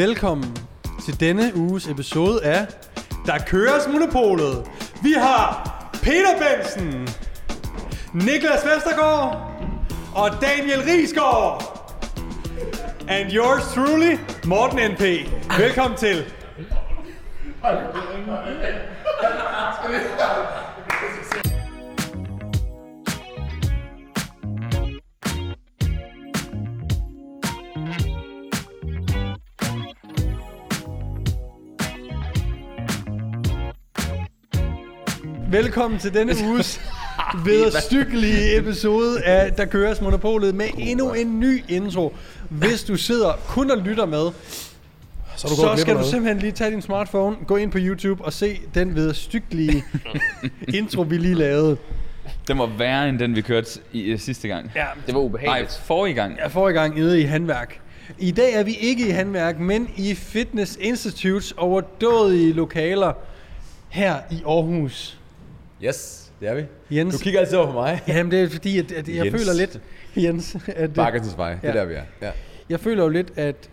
Velkommen til denne uges episode af Der køres Monopolet. Vi har Peter Bensen, Niklas Vestergaard og Daniel Risgaard. And yours truly, Morten N.P. Velkommen til. Velkommen til denne uges vederstykkelige episode af Der køres Monopolet med endnu en ny intro. Hvis du sidder kun og lytter med, Så, så skal du simpelthen lige tage din smartphone, gå ind på YouTube og se den vederstykkelige intro, vi lige lavede. Den var værre end den, vi kørte i, i sidste gang. Ja, Det var Nej, ubehageligt. forrige gang. Jeg får i gang nede i handværk. I dag er vi ikke i handværk, men i Fitness Institutes overdådige lokaler her i Aarhus. Yes, det er vi. Jens. Du kigger altid over på mig. Jamen det er fordi, at, at jeg Jens. føler lidt, Jens, at øh, Markedsens vej, det er Ja. der vi er. Ja. jeg føler jo lidt, at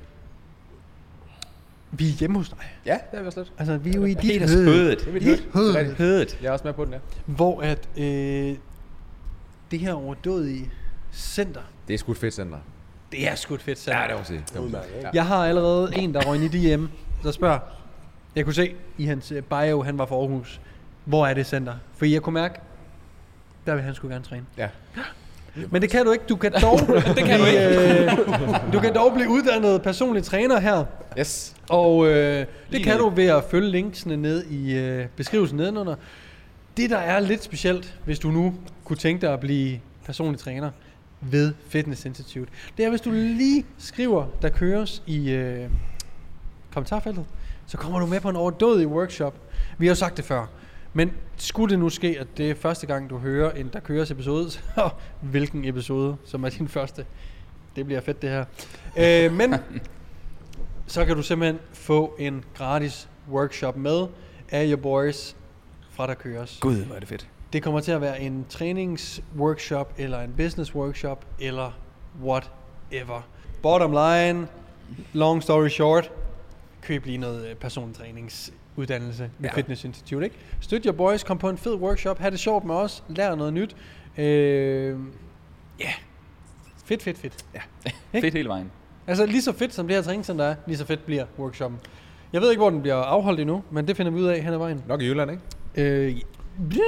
vi er hjemme hos dig. ja, det er vi også lidt. Altså, vi er jo i dit Peters hød, hødet. Det er mit Dit hud. Det er hød, rigtigt. Hødet. Jeg er også med på den, ja. hvor at øh, det her overdådige center, Det er sgu et fedt center. det er sgu et fedt center. Ja, det må man sige. Det må man sige. Ja. Jeg har allerede en, der røg i DM, der spørger. Jeg kunne se i hans øh, bio, han var fra Aarhus. Hvor er det center? For jeg kunne mærke, der vil han skulle gerne træne. ja. Men det kan du ikke. Du kan dog, det kan du, ikke. Øh, du kan dog blive uddannet personlig træner her. Yes. Og øh, det kan du ved at følge linksene ned i øh, beskrivelsen nedenunder. Det, der er lidt specielt, hvis du nu kunne tænke dig at blive personlig træner ved Fitness Institute, det er, hvis du lige skriver, der køres i øh, kommentarfeltet, så kommer du med på en overdådig workshop. Vi har jo sagt det før, men skulle det nu ske, at det er første gang, du hører en Der Køres episode, så hvilken episode, som er din første. Det bliver fedt, det her. Øh, men så kan du simpelthen få en gratis workshop med af your boys fra der køres. Gud, hvor er det fedt. Det kommer til at være en træningsworkshop eller en business workshop eller whatever. Bottom line, long story short, køb lige noget øh, personlig træningsuddannelse med ja. Ja. Fitness Institute, ikke? Støt your boys, kom på en fed workshop, ha' det sjovt med os, lær noget nyt. Øh, Ja, øh, yeah. fedt, fedt, fedt. Ikke? Fedt hele vejen. Altså lige så fedt som det her træningscenter er, lige så fedt bliver workshoppen. Jeg ved ikke, hvor den bliver afholdt endnu, men det finder vi ud af hen ad vejen. Nok i Jylland, ikke? Øh, ja.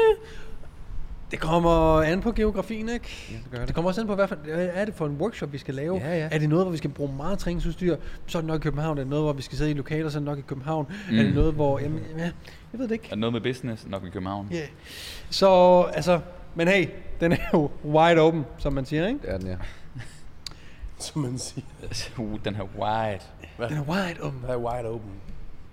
det kommer an på geografien, ikke? Ja, det gør det. det kommer også an på, hvad, for, hvad er det for en workshop, vi skal lave? Ja, ja. Er det noget, hvor vi skal bruge meget træningsudstyr? Så er det nok i København. Er det noget, hvor vi skal sidde i lokaler? Så er det nok i København. Mm. Er det noget, hvor... Jamen, ja, jeg ved det ikke. Er der noget med business? Nok i København. Yeah. Så altså... Men hey, den er jo wide open, som man siger, ikke? Det er den, ja. som man siger. Uh, den her wide. Den er wide open. Der er wide open.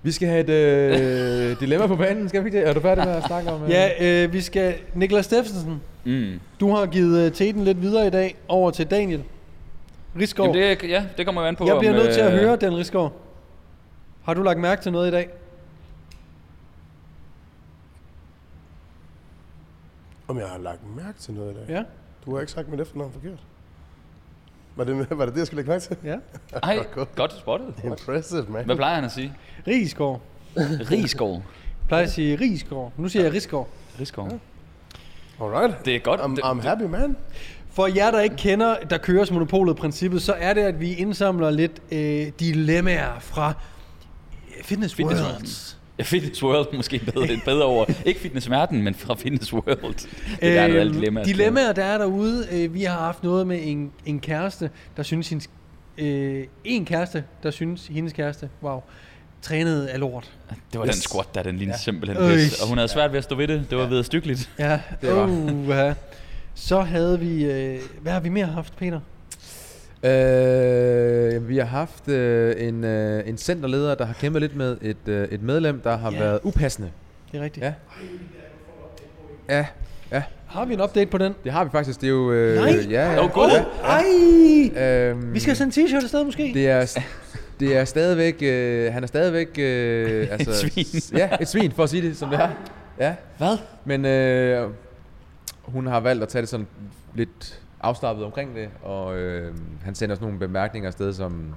Vi skal have et øh, dilemma på banen, skal vi ikke det? Er du færdig med at snakke om? øh, Ja, øh, vi skal... Niklas Steffensen, Mm. Du har givet øh, teten lidt videre i dag over til Daniel Rigsgaard. Jamen, det, ja, det kommer jo an på, jeg bliver om, nødt til at øh, høre, Daniel Rigsgaard. Har du lagt mærke til noget i dag? Om jeg har lagt mærke til noget i dag? Ja? Du har ikke sagt mit efternavn forkert. Var det, var det det, jeg skulle lægge mærke til? Ja? Ej, godt spottet. Impressive, man. Hvad plejer han at sige? Rigsgaard. Rigskov. Jeg plejer at sige Rigsgaard. Nu siger jeg Rigsgaard. Rigskov. Alright. Det er godt. I'm, det, Mm. I'm happy, man. For jer, der ikke kender, der køres monopolet-princippet, så er det, at vi indsamler lidt øh, dilemmaer fra øh, Fitness, Fitness World. World. Ja, Fitness World måske bedre, et bedre over. Ikke Fitness Verden, men fra Fitness World. Det er der Øhm, noget alle dilemmaer. dilemmaer, der er derude. Øh, vi har haft noget med en, en kæreste, der synes hendes... Øh, en kæreste, der synes hendes kæreste, wow, trænede af lort. Det var den squat, der den lignede ja. simpelthen Øj. bedst. Og hun havde svært ved at stå ved det. Det var ja. ved stykkeligt. Ja, Det var- uh, ja. Så havde vi... Øh, hvad har vi mere haft, Peter? Øh, vi har haft øh, en, øh, en centerleder, der har kæmpet lidt med et, øh, et medlem, der har Ja. været upassende. Det er rigtigt. Ja. Ja. Ja, ja. Har vi en update på den? Det har vi faktisk. Det er jo... Øh, Nej. Ja, ja. Åh, gud. Ej! Øhm, Vi skal sende en t-shirt afsted måske? Det er, det er stadigvæk, øh, han er stadigvæk... Øh, altså, svin. s- Ja, et svin, for at sige det, som det er. Ja, Hvad? men øh, hun har valgt at tage det sådan lidt afslappet omkring det, og øh, han sender sådan nogle bemærkninger afsted, som...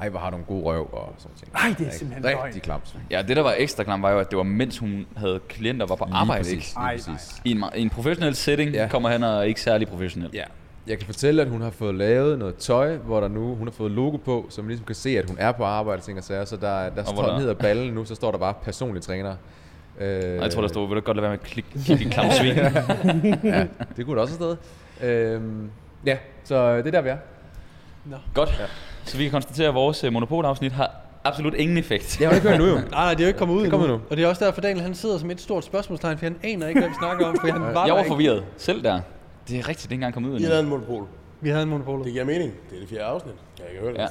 ej, hvor har du en god røv og sådan ting. Ej, det er simpelthen løgn. Rigtig klamt. Ja, det der var ekstra klamt var jo, at det var mens hun havde klienter, var på arbejde, ikke? Lige Ej, præcis. I en, me- i en professionel setting Ja. ja. kommer han og er ikke særlig professionel. Ja. Jeg kan fortælle, at hun har fået lavet noget tøj, hvor der nu, hun har fået logo på, så man ligesom kan se, at hun er på arbejde, ting og sager. Så der, der hvor står, den der- hedder ballen nu, så står der bare personlig træner. Øh, Og jeg tror, der stod, vil du godt lade være med at klikke klik, klik, klam svin. Øh, Det kunne det også have stået. Øhm, ja, så det er der, vi er. Nå. Godt. Ja. Så vi kan konstatere, at vores øh, monopolafsnit har absolut ingen effekt. Jeg har ikke hørt nu jo. Nej, nej, det er jo ikke kommet ud Det kommer endnu. nu. Og det er også derfor, Daniel han sidder som et stort spørgsmålstegn, for han aner ikke, hvad vi snakker om, for han var Jeg der var ikke. forvirret selv der. Det er rigtigt, det er ikke engang kommet ud I har lavet endnu. en monopol. Vi havde en monopol. Det giver mening. Det er det fjerde afsnit. Jeg kan høre det. Ja.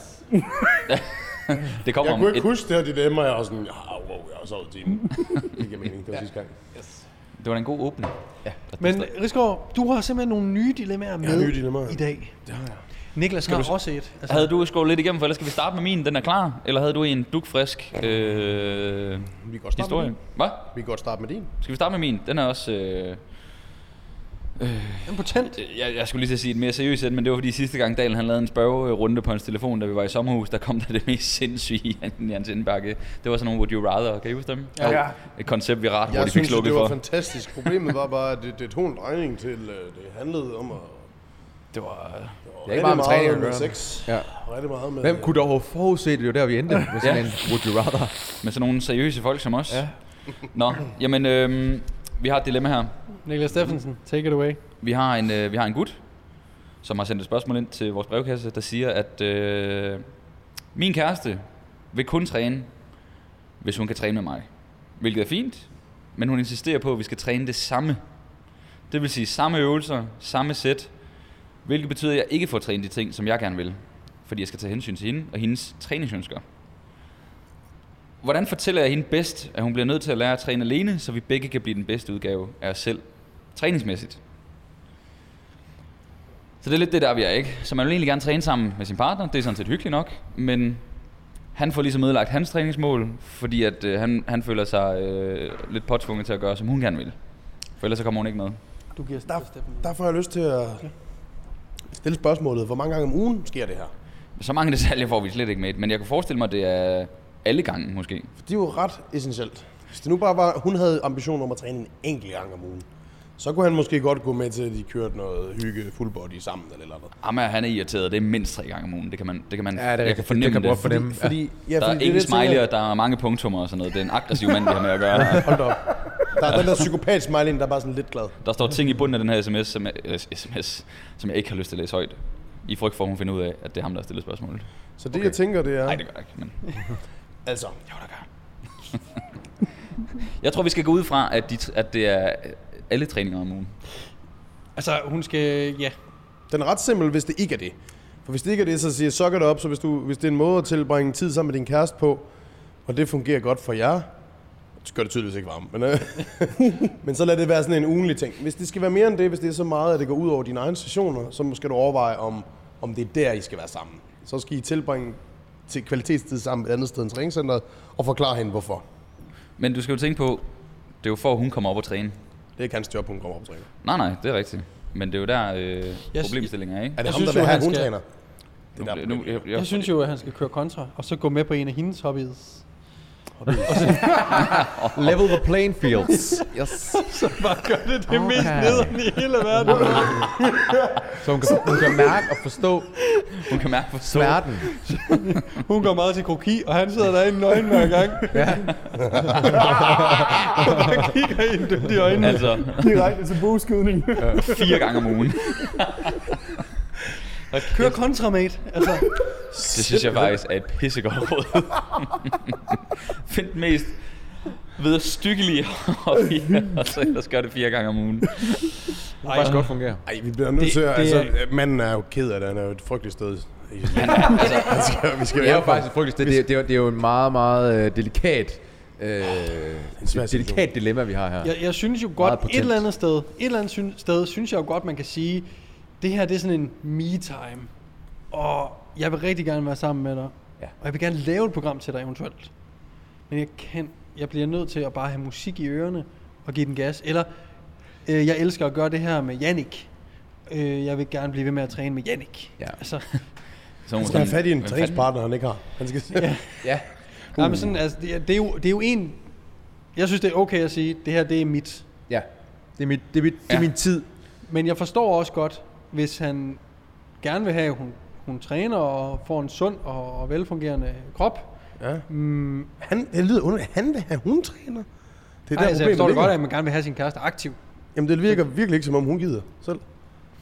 Ja. Det kommer Jeg om kunne ikke et, huske det her, dit emmer, og jeg var sådan, ja, wow, jeg har sovet i timen. Det giver mening, det var sidste gang. Det var da en god åbning. Ja. Men Rigsgaard, du har simpelthen nogle nye dilemmaer med nye dilemmaer. i dag. Det har jeg. Niklas har du... også et. Altså, Havde du skåret lidt igennem, for ellers skal vi starte med min, den er klar. Eller havde du en dukfrisk øh, Vi kan godt starte med historie? din. Hvad? Vi kan godt starte med din. Skal vi starte med min? Den er også... Øh, en potent. jeg, jeg skulle lige til at sige et mere seriøst end, men det var fordi sidste gang Dalen han lavede en spørgerunde på hans telefon, da vi var i sommerhus, der kom der det mest sindssyge i hans indbakke. Det var sådan nogle Would You Rather, kan I huske dem? Ja. Ja. Et koncept, vi ret Jeg hurtigt fik synes, slukket det for. var fantastisk. Problemet var bare, at det, det tog en regning til, øh, det handlede om at... Det var... Det er ikke meget med træning at med gøre. sex. Ja. og Rigtig meget med... Hvem kunne dog have forudset det? Det var der, vi endte med sådan Ja. en would you rather. Med sådan nogle seriøse folk som os. Ja. Nå, jamen, øh, vi har et dilemma her. Niklas Steffensen, take it away. Vi har en, øh, vi har en gut, som har sendt et spørgsmål ind til vores brevkasse, der siger, at øh, min kæreste vil kun træne, hvis hun kan træne med mig. Hvilket er fint, men hun insisterer på, at vi skal træne det samme. Det vil sige samme øvelser, samme sæt, hvilket betyder, at jeg ikke får trænet de ting, som jeg gerne vil, fordi jeg skal tage hensyn til hende og hendes træningsønsker. Hvordan fortæller jeg hende bedst, at hun bliver nødt til at lære at træne alene, så vi begge kan blive den bedste udgave af os selv træningsmæssigt? Så det er lidt det der, vi er, ikke? Så man vil egentlig gerne træne sammen med sin partner, det er sådan set hyggeligt nok, men han får ligesom ødelagt hans træningsmål, fordi at, øh, han, han føler sig øh, lidt påtvunget til at gøre, som hun gerne vil. For ellers så kommer hun ikke med. Du giver Der, Steffensen. der får jeg lyst til at stille spørgsmålet, hvor mange gange om ugen sker det her? Så mange detaljer får vi slet ikke med, men jeg kan forestille mig, at det er alle gange måske. For det er jo ret essentielt. Hvis det nu bare var, hun havde ambition om at træne en enkelt gang om ugen, så kunne han måske godt gå med til, at de kørte noget hygge full body sammen eller et eller andet. Amager, han er irriteret, det er mindst tre gange om ugen. Det kan man, det kan man Ja, det- jeg det kan fornemme kan man godt det. fornemme. Fordi, fordi Ja, der fordi er det er ingen det, jeg smiley, tænker. og der er mange punktummer og sådan noget. Det er en aggressiv mand, vi har med at gøre. Hold da op. Der er den der psykopat smiley, der er bare sådan lidt glad. Der står ting i bunden af den her sms, som jeg, eller sms, som jeg ikke har lyst til at læse højt. I frygt for, at hun finder ud af, at det er ham, der har stillet spørgsmålet. Så det okay. jeg tænker, det er... Nej, det gør jeg ikke, men Altså, Jeg tror, vi skal gå ud fra, at, de, at det er øh, alle træninger om ugen. Altså, hun skal... Ja. den er ret simpel, hvis det ikke er det. For hvis det ikke er det, så siger jeg, så gør det op. Så hvis, du, hvis det er en måde at tilbringe tid sammen med din kæreste på, og det fungerer godt for jer, så gør det tydeligvis ikke varmt, men, øh, men så lad det være sådan en ugenlig ting. Hvis det skal være mere end det, hvis det er så meget, at det går ud over dine egne sessioner, så skal du overveje, om, om det er der, I skal være sammen. Så skal I tilbringe til kvalitetstid sammen et andet sted end træningscenteret, og forklare hende, hvorfor. Men du skal jo tænke på, det er jo for, at hun kommer op og træne. Det er ikke hans job, hun kommer op og træner. Nej, nej, det er rigtigt. Men det er jo der, øh, problemstillingen er, ikke? Er det Jeg ham, synes der jo, vil have, han at hun skal- træner? Det er der, Nu, nu, jeg, jeg, Jeg synes jo, at han skal køre kontra, og så gå med på en af hendes hobbies. Level the playing fields. yes. Så bare gør det det Okay. mest nederen i hele verden. Så hun kan, hun kan mærke og forstå hun kan mærke for så. smerten. Hun går meget til kroki, og han sidder derinde nøgen hver gang. Ja. og bare kigger ind dødt i øjnene. Altså, Direkte til buskydning. fire gange om ugen. Kør kontra, mate. Altså, Det synes jeg faktisk er et pissegodt råd. Find den mest vedstykkelige hobby, og så ellers gør det fire gange om ugen. Det faktisk godt fungerer. Ej, vi bliver nødt Det- til at... det Altså, er- øh, manden er jo ked af det. Han er jo et frygteligt sted. i sit liv. altså, Han skal- vi skal Det er jo hjælpe ham. faktisk et frygteligt sted. Det, er- det, er, jo- det er jo en meget, meget øh, delikat, øh, svær et situation. delikat dilemma, vi har her. jeg, jeg synes jo Meget godt, et potent. eller andet sted, et eller andet syn, sted, synes jeg jo godt, man kan sige, det her det er sådan en me-time, og jeg vil rigtig gerne være sammen med dig, Ja. og jeg vil gerne lave et program til dig eventuelt. Men jeg kan, jeg bliver nødt til at bare have musik i ørerne og give den gas. Eller, øh, jeg elsker at gøre det her med Jannik. Øh, jeg vil gerne blive ved med at træne med Jannik. Ja. Altså, Så må Han man skal have fat i en "Hvem træningspartner, han ikke har. Han skal sige, Ja. Nej, men sådan, Uh. altså, det, er- det, er jo, det er jo en... Jeg synes, det er okay at sige, det her det er mit. Ja. Det er, mit, det, er mit, det er Ja. min tid. Men jeg forstår også godt, hvis han gerne vil have, at hun, hun træner og får en sund og, og velfungerende krop. ja. Mm, ej, Han, det lyder underligt. Han vil have, hun træner. Det er der, altså, jeg forstår problemet det godt, ligger. at man gerne vil have sin kæreste aktiv. Jamen, det virker virkelig ikke, som om hun gider selv.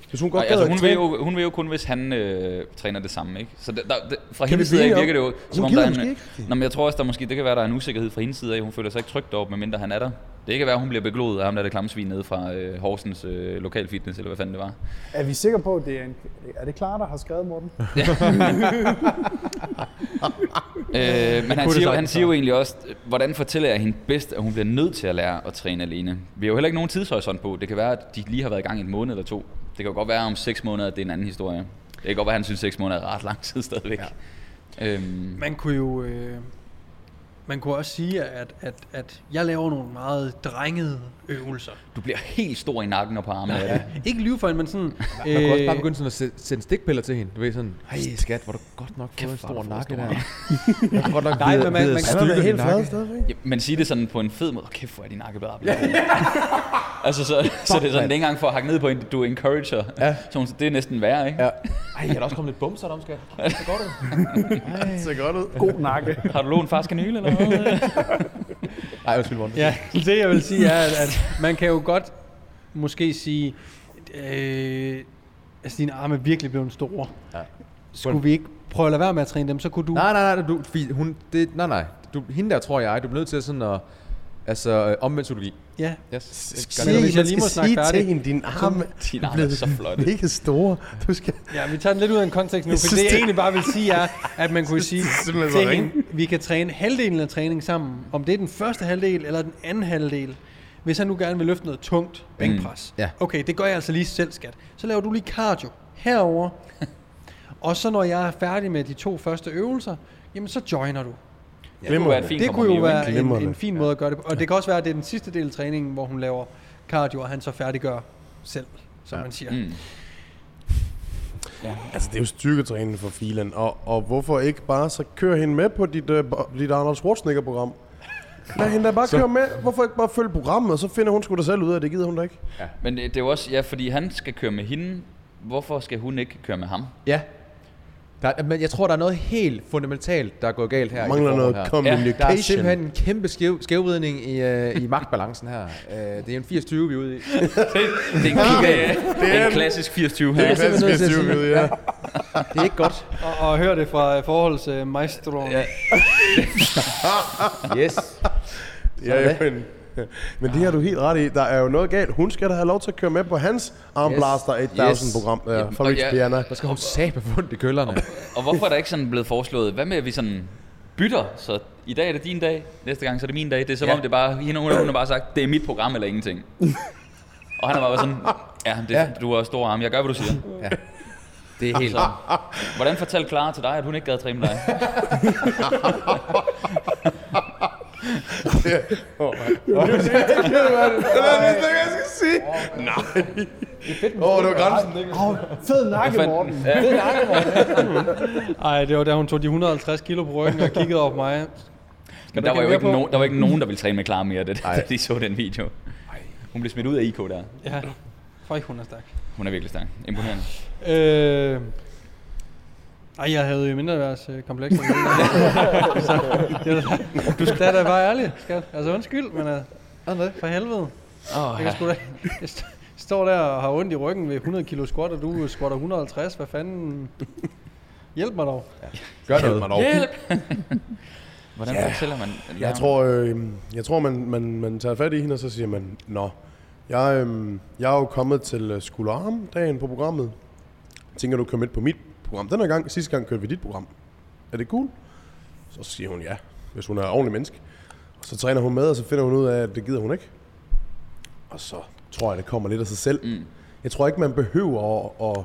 Hvis hun godt Nej, gad altså, at hun, vil træne- jo, hun vil jo kun, hvis han øh, træner det samme, ikke? Så der, der, der, fra Kan hendes vi side blive af enige virker det om- jo, Hun som om gider der er en... måske ikke det. Nå, men jeg tror også, der måske, det kan være, der er en usikkerhed fra hendes side af. Hun føler sig ikke tryg deroppe, medmindre han er der. Det kan være, hun bliver begloet af ham, der er det klamme svin nede fra øh, Horsens øh, lokalfitness, eller hvad fanden det var. Er vi sikre på, at det er en... Er det Clara, der har skrevet Morten? Øh, det men han siger, jo- han sagtens siger jo egentlig også, øh, hvordan fortæller jeg hende bedst, at hun bliver nødt til at lære at træne alene? Vi har jo heller ikke nogen tidshorisont på. Det kan være, at de lige har været i gang i en måned eller to. Det kan jo godt være, om seks måneder, det er en anden historie. Det kan godt være, at han synes, at seks måneder er ret lang tid stadigvæk. Ja. Øhm, Man kunne jo... Øh, man kunne også sige, at, at, at jeg laver nogle meget drengede øvelser. du bliver helt stor i nakken og på armene af det. Ikke lyve for, men sådan... Man kunne også bare øh, begynde sådan at sæ- sende stikpiller til hende. Du ved sådan, hej skat, hvor er du godt nok fået hvor en er stor du fået nakke stor der. nakke. Jeg har godt nok Nej, men man- man- Han er da helt flad stadigvæk. Ja, men sig det sådan på en fed måde. Åh, Kæft, hvor er din nakke blevet arbejdet. altså, så, så det er sådan, det er ikke engang for at hakke ned på en, du encourager. Ja. Så hun, det er næsten værre, ikke? Ja. Ej, er der også kommet lidt bumser derom, skat? Så går det. Det ser godt ud. God nakke. Har du lånt en fars kanyle eller hvad? Ej, undskyld, Morten. øh, Ja, det jeg vil sige er, at, at man kan jo godt måske sige, øh, altså dine arme er virkelig blevet store. Ja. Skulle vi ikke prøve at lade være med at træne dem, så kunne du... Nej, nej, nej, du, fordi hun, det, nej, nej. Du, hende der, tror jeg, du bliver nødt til sådan at, altså, øh, omvendt psykologi. Ja, Yes. Sig- Sige, Hvis jeg man lige må skal snakke sige færdig. til hende, din arm Din er arm er blevet så flot. mega store. Du skal... ja, vi tager den lidt ud af en kontekst nu, Jeg for synes, det jeg det- egentlig bare vil sige er, at man kunne sige simpelthen så til ringe. hende, vi kan træne halvdelen af træningen sammen. Om det er den første halvdel eller den anden halvdel. Hvis han nu gerne vil løfte noget tungt bænkpres. Mm, ja. Okay, det gør jeg altså lige selv, skat. Så laver du lige cardio herover. Og så når jeg er færdig med de to første øvelser, jamen så joiner du. Det kunne være et Glimrende. fint Det kunne jo kompromis, ikke? være en, Glimrende. en fin måde at gøre det på. Og det kan også være, at det er den sidste del af træningen, hvor hun laver cardio, og han så færdiggør selv, som man siger. Mm. Altså, det er jo styrketræning for filen. Og, og hvorfor ikke bare så køre hende med på dit, øh, bo- dit Arnold Schwarzenegger-program? Lad hende da bare køre med. Hvorfor ikke bare følge programmet, og så finder hun sgu da selv ud af, det gider hun da ikke. Men det, det er jo også, ja, fordi han skal køre med hende. Hvorfor skal hun ikke køre med ham? Ja. Der, men jeg tror, der er noget helt fundamentalt, der er gået galt her. i det Mangler forhold noget her. communication. Der er simpelthen en kæmpe skæv, skævvridning i, øh, i magtbalancen her. Øh, det er en 80-20, vi er ude i. Det, det, er, en, kig- det er en klassisk 80-20 her. er simpelthen nødt til at sige- styrket, ja. Det er ikke godt. Og, og hør det fra øh, forholdsmaestroen. Ja. Yes. Ja, Sådan men, men det har du helt ret i. Der er jo noget galt. Hun skal da have lov til at køre med på hans Armblaster Yes. 8000-program yes. ja, Jamen, øh, fra og Rich jeg- Piana. Der skal hun sabe fundt i køllerne. Og hvorfor er der ikke sådan blevet foreslået, hvad med at vi sådan bytter, så i dag er det din dag, næste gang så er det min dag. Det er som Ja. ja. om det er bare, hende, hun, hun har bare sagt, det er mit program eller ingenting. og han har bare været sådan, ja, det, Ja. ja. du har store arme, jeg gør, hvad du siger. Ja. Det er helt... Så, hvordan fortalte Clara til dig, at hun ikke gad træne med dig? Åh, oh, det var grænsen. Åh, fed nakke, fandt den. Morten. Ej, det var da hun tog de 150 kilo på ryggen og kiggede op på mig. Men du der kigge var jo mere ikke, på? no, der var ikke nogen, der ville træne med Clara mere, det, da de så den video. Hun blev smidt ud af IK der. Ja, for ikke hun er stærk. Hun er virkelig stærk. Imponerende. Øh, ej, jeg havde jo mindre værds øh, komplekser. end det. så, det var, du skal da bare ærlig, skat. Altså undskyld, men uh, for helvede. Oh, Jeg, kan sgu da, jeg st- står der og har ondt i ryggen ved 100 kilo squat, og du øh, squatter 150. Hvad fanden? Hjælp mig dog. Gør noget. Hjælp! Hvordan yeah. fortæller man? Jeg tror, øh, jeg tror man, man, man tager fat i hende, og så siger man, Nå, jeg, øh, jeg er jo kommet til øh, skulderarm dagen på programmet. Tænker du at køre med på mit program? Den her gang, sidste gang kørte vi dit program. Er det cool? Så siger hun ja, hvis hun er ordentlig menneske. Og så træner hun med, og så finder hun ud af, at det gider hun ikke. Og så tror jeg, det kommer lidt af sig selv. Mm. Jeg tror ikke, man behøver at, at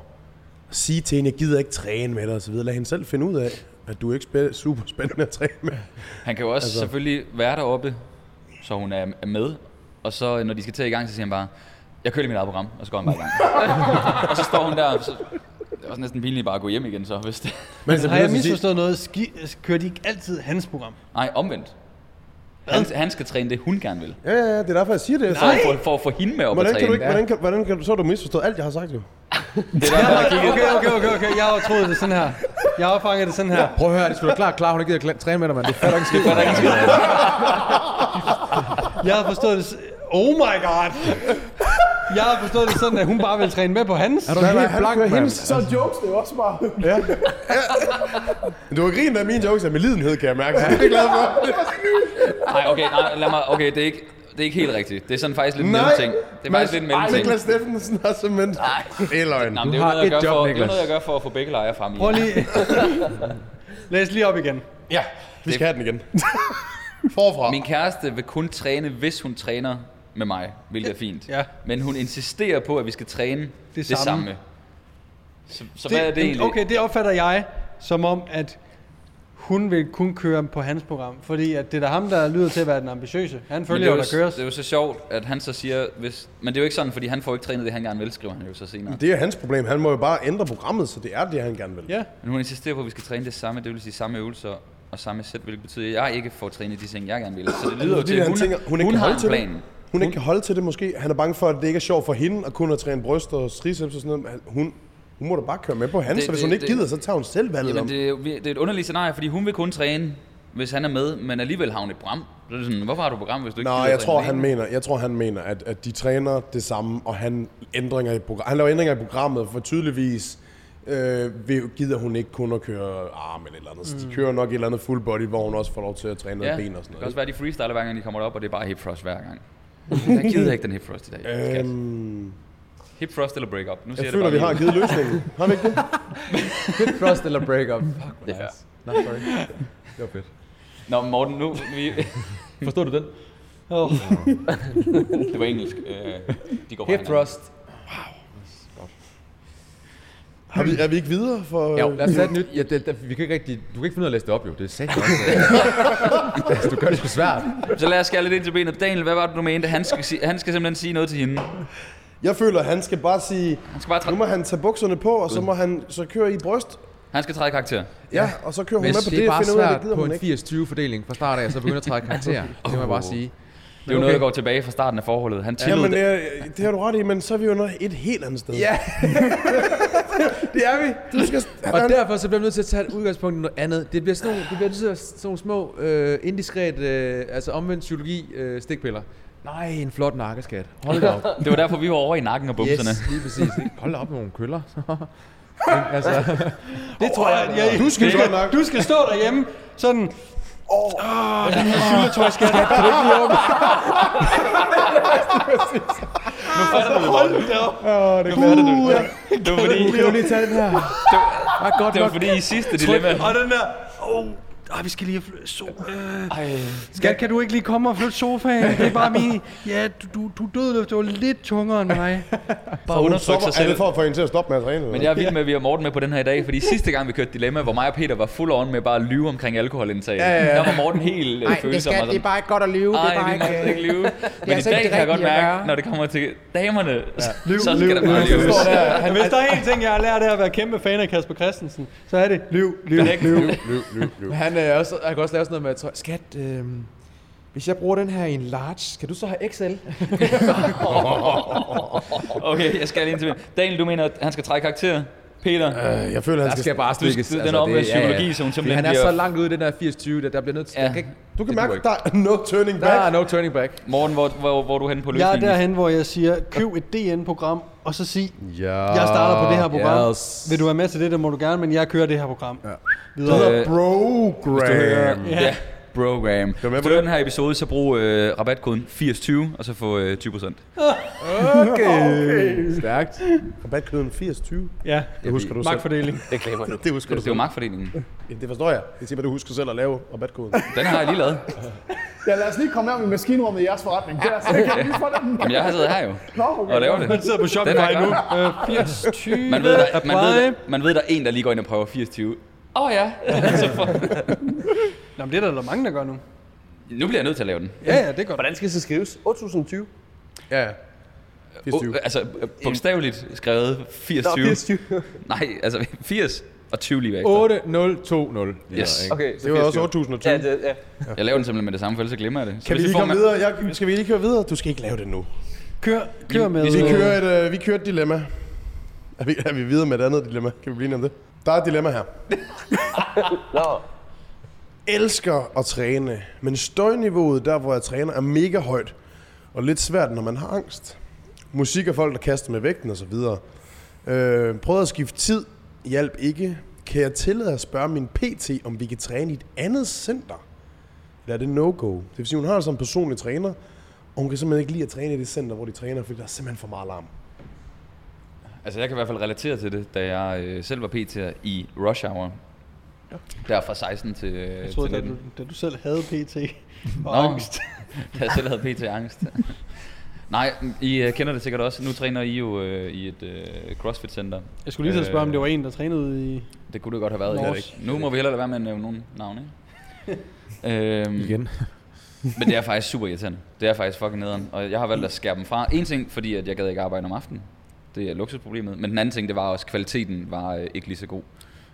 sige til hende, jeg gider ikke træne med dig osv. Lad hende selv finde ud af, at du er ikke spæ- super spændende at træne med. Han kan jo også altså. selvfølgelig være deroppe, så hun er er med. Og så når de skal til i gang, så siger han bare, jeg kører lige mit eget program, og så går han bare i gang. og så står hun der, og så, også næsten pinligt bare at gå hjem igen så, hvis det... Men Har jeg så sige- misforstået noget? Ski, kører de ikke altid hans program? Nej, omvendt. Han, han skal træne det, hun gerne vil. Ja, ja, ja, det er derfor, jeg siger det. For, for, for at få hende med op at Hvordan kan træne. du ikke, hvordan kan, hvordan kan du, så har du misforstået alt, jeg har sagt jo. Det er der, der Okay, okay, okay, okay. Jeg har jo troet det sådan her. Jeg har fanget det sådan her. Prøv at høre, det skulle da klart, klar, hun ikke gider træne med dig, mand. Det fatter ikke skidt. er der ikke skidt. Jeg har forstået det... s- Oh my god! Jeg har forstået det sådan, at hun bare vil træne med på hans. Er du Nej, nej, helt han blank, kører mand? hendes. Så er jokes det jo også bare... Ja. Men du har grinet af mine jokes af med lidenhed, kan jeg mærke. Så det er jeg glad for. Nej, okay, nej, lad mig, okay, det er ikke, det er ikke helt rigtigt. Det er sådan faktisk lidt en Nej. mellemting. Det er faktisk lidt en Ej, mellemting. Niklas Steffensen har simpelthen... Nej. Det er løgn. Nå, men det er Du jo har noget, jeg et gør job, for, det er Niklas. noget, jeg gør for at få begge lejre frem i. Prøv lige... Læs lige op igen. Ja, vi skal have den igen. Forfra. Min kæreste vil kun træne, hvis hun træner med mig, hvilket er fint. Ja. Men hun insisterer på, at vi skal træne det, det samme. samme. Så, så hvad er det egentlig? Okay, det opfatter jeg som om, at hun vil kun køre på hans program. Fordi at det er da ham, der lyder til at være den ambitiøse. Han Men det, følger er jo, jo, der s- køres. det er jo så sjovt, at han så siger, hvis, men det er jo ikke sådan, fordi han får ikke trænet det, han gerne vil, skriver han jo så senere. Det er hans problem. Han må jo bare ændre programmet, så det er det, han gerne vil. Ja. Men hun insisterer på, at vi skal træne det samme, det vil sige samme øvelser og samme sæt, hvilket betyder, at jeg ikke får trænet de ting, jeg gerne vil. Så det lyder jo Fordi til, at han hun, tænker, hun ikke hun har kan holde en til det. plan. Hun ikke kan holde til det måske. Han er bange for, at det ikke er sjovt for hende at kun at træne bryst og triceps og sådan noget. Men han- Hun, hun må da bare køre med på hans, Det- så hvis det- hun ikke det- gider, så tager hun selv valget om. Jamen, det, er jo- det er et underligt scenarie, fordi hun vil kun træne, hvis han er med, men alligevel har hun et program. Så er det sådan, hvorfor har du et program, hvis du ikke Nej, gider jeg træne tror, alene? han mener, jeg tror, han mener at, at de træner det samme, og han, ændringer i program, han laver ændringer i programmet, for tydeligvis øh, vil- gider hun ikke kun at køre arm eller et eller andet. Så de kører nok et eller andet full body, hvor hun også får lov til at træne noget ben Det og sådan kan også noget. være, de freestyler hver gang, de kommer derop, og det er bare hip thrust hver gang. Jeg gider ikke den hip thrust i dag. skat. Øhm, Hip thrust eller break up. Nu siger jeg det føler, bare vi har lige. givet løsningen. Har vi ikke det? Hit thrust eller break up? Fuck, Det er fair. Nå, sorry. Det var fedt. Nå, Morten, nu... Vi, Forstod du den? Oh. det var engelsk. Øh, de går fra Hip hinanden. thrust. Har vi, er vi ikke videre for... Jo, øh, lad os tage et nyt. Ja, det, det, vi kan ikke rigtig, du kan ikke finde ud af at læse det op, jo. Det er sagt også. altså, du gør det sgu svært. Så lad os skære lidt ind til benet. Daniel, hvad var det, du mente? Han skal, sige, han skal simpelthen sige noget til hende. Jeg føler, han skal bare sige, Han skal bare træ- nu må han tage bukserne på, og så må han så køre i bryst. han skal træde karakter. Ja, og så kører hun Hvis med på det, det, er bare finder ud af, svært det gider på hun en ikke. 80-20-fordeling fra start af, så begynder at trække karakter. Det må jeg bare sige. Det er jo noget, der går tilbage fra starten af forholdet. Han tillod Jamen, det. øh, det har du ret i, men så er vi jo noget et helt andet sted. Ja, det er vi. Du skal... Og derfor så bliver vi nødt til at tage et udgangspunkt i noget andet. Det bliver sådan nogle, det bliver sådan sådan nogle små, øh, indiskret, øh, altså omvendt psykologi øh, stikpiller. Nej, en flot nakkeskat. Hold da op. Det var derfor, vi var over i nakken og bumserne. yes, lige præcis. ikke? Hold da op med nogle køller. Men altså, Det tror jeg, at jeg... Du skal du, godt nok. skal, du skal stå derhjemme sådan... Det var fordi, kan du lige tage den her? Ah, godt det var nok. fordi i sidste dilemma... Og den der... Oh, ej, vi skal lige flytte so øh. Skat, kan du ikke lige komme og flytte sofaen? Det er bare min... Ja, du, du, du døde, det var lidt tungere end mig. Bare undertrykke sig Er selv. det for at få hende til at stoppe med at træne? Men jeg er vild med, at vi har Morten med på den her i dag, fordi sidste gang vi kørte Dilemma, hvor mig og Peter var fuld on med bare at lyve omkring alkoholindtag, ja, ja, ja. der var Morten helt øh, følsom. Nej, det er bare ikke godt at lyve. Nej, det er bare ikke lyve. Men i dag kan jeg godt mærke, når det kommer til damerne, ja. så skal der bare lyves. Men hvis der er en ting, jeg har lært af at være kæmpe fan af Kasper Christensen, så er det liv, liv, liv. Løb, løb, løb. Men Han, øh, er også, han kan også lave sådan noget med tøj. Skat, øh, hvis jeg bruger den her i en large, kan du så have XL? Okay, jeg skal lige ind til min- Daniel, du mener, at han skal trække karakter? Peter, Øh, Jeg føler, han Der skal... skal jeg bare skal- stikkes. den er omvendt psykologi, så hun Fordi simpelthen Han er bliver- så langt ude i den der 80-20, der, der bliver nødt til... Ja. der kan ikke- Du kan det mærke, duer at ikke. der er no turning Der er back. no turning back. Morten, hvor, hvor, hvor er du henne på Jeg er løsningen? derhen, hvor jeg siger, køb et DN-program, og så sig, Ja. jeg starter på det her program. Ah, yes. Vil du være med til det, det må du gerne, men jeg kører det her program. Det Videre. hedder program. Ja. ja. Program. Øh, Hvis du med på du hører det? den her episode, så brug øh, rabatkoden 8020, og så få øh, 20%. Okay. Stærkt. Rabatkoden 8020. Ja, Det husker du selv. magtfordeling. Det husker du Det er jo selv. magtfordelingen. Ja, Det forstår jeg. Det er simpelthen, du husker selv at lave rabatkoden. Den har jeg lige lavet. Ja, lad os lige komme nærmere i maskinrummet i jeres forretning. Der, så kan jeg lige få den. Jamen, jeg har siddet her jo Nå, okay. og laver det. Man sidder på Den er Shopify nu. Øh, 80, 20, Man ved, der, apply. man, ved, der, man ved, der er en, der lige går ind og prøver 80-20. Åh oh, ja. Så for... Nå, men det er der, der mange, der gør nu. Nu bliver jeg nødt til at lave den. Ja, ja, det er godt. Hvordan skal det så skrives? 8020. Ja. Uh, altså, øh, bogstaveligt skrevet 80 Nå, 20. 80. Nej, altså 80 og 20 lige bagefter. 8020. Yes. Okay, så Det var 80 også jo. 8020. Ja, det, ja. Jeg laver den simpelthen med det samme, for ellers så glemmer jeg det. Så Kan vi hvis lige får komme ma- videre? Jeg, skal vi lige køre videre? Du skal ikke lave det nu. Kør, kør med... Vi øh, kører et, øh, vi kører et dilemma. Er vi, er vi videre med et andet dilemma? Kan vi blive enige om det? Der er et dilemma her. Nå, Elsker at træne, men støjniveauet der, hvor jeg træner, er mega højt. Og lidt svært, når man har angst. Musik og folk, der kaster med vægten osv. Øh, prøvede at skifte tid. Hjælp ikke. Kan jeg tillade at spørge min PT, om vi kan træne i et andet center? Eller er det no-go? Det vil sige, hun har altså en personlig træner, og hun kan simpelthen ikke lide at træne i det center, hvor de træner, fordi der er simpelthen for meget larm. Altså, jeg kan i hvert fald relatere til det, da jeg øh, selv var PT'er i Rush Hour. Der fra 16 til, øh, Jeg til troede, da 19. du, da du selv havde PT og Nå. angst. da jeg selv havde PT angst. Nej, I øh, kender det sikkert også. Nu træner I jo øh, i et øh, CrossFit-center. Jeg skulle lige til at spørge, om det Øh. var en, der trænede ude i... Det kunne det godt have været. Nå, Det ikke. Nu må vi hellere lade være med at nævne nogen navne, ikke? øhm, Igen. Men det er faktisk super irriterende. Det er faktisk fucking nederen. Og jeg har valgt at skære dem fra. En ting, fordi at jeg gad ikke arbejde om aftenen. Det er luksusproblemet. Men den anden ting, det var også, at kvaliteten var øh, ikke lige så god.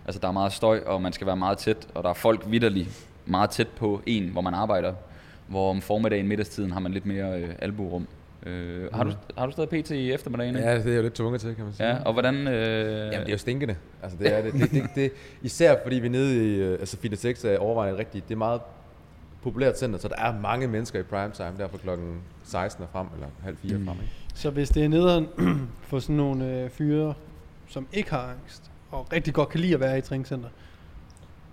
Altså, der er meget støj, og man skal være meget tæt. Og der er folk vidderligt meget tæt på en, hvor man arbejder. Hvor om formiddagen, middagstiden, har man lidt mere øh, alburum. Øh, har, du, har du stadig PT i eftermiddagen? ikke? Mm. Ja, det er jeg jo lidt tvunget til, kan man sige. ja og hvordan... Øh, Jamen, det er jo stinkende. Altså, det er det. det, det, det især fordi vi er nede i, øh, altså Fitness 6 er overvejende rigtigt, det er meget populært center, så der er mange mennesker i primetime, der fra klokken 16 og frem, eller halv fire mm. frem, ikke? Så hvis det er nederen for sådan nogle øh, fyre, som ikke har angst, og rigtig godt kan lide at være i et træningscenter,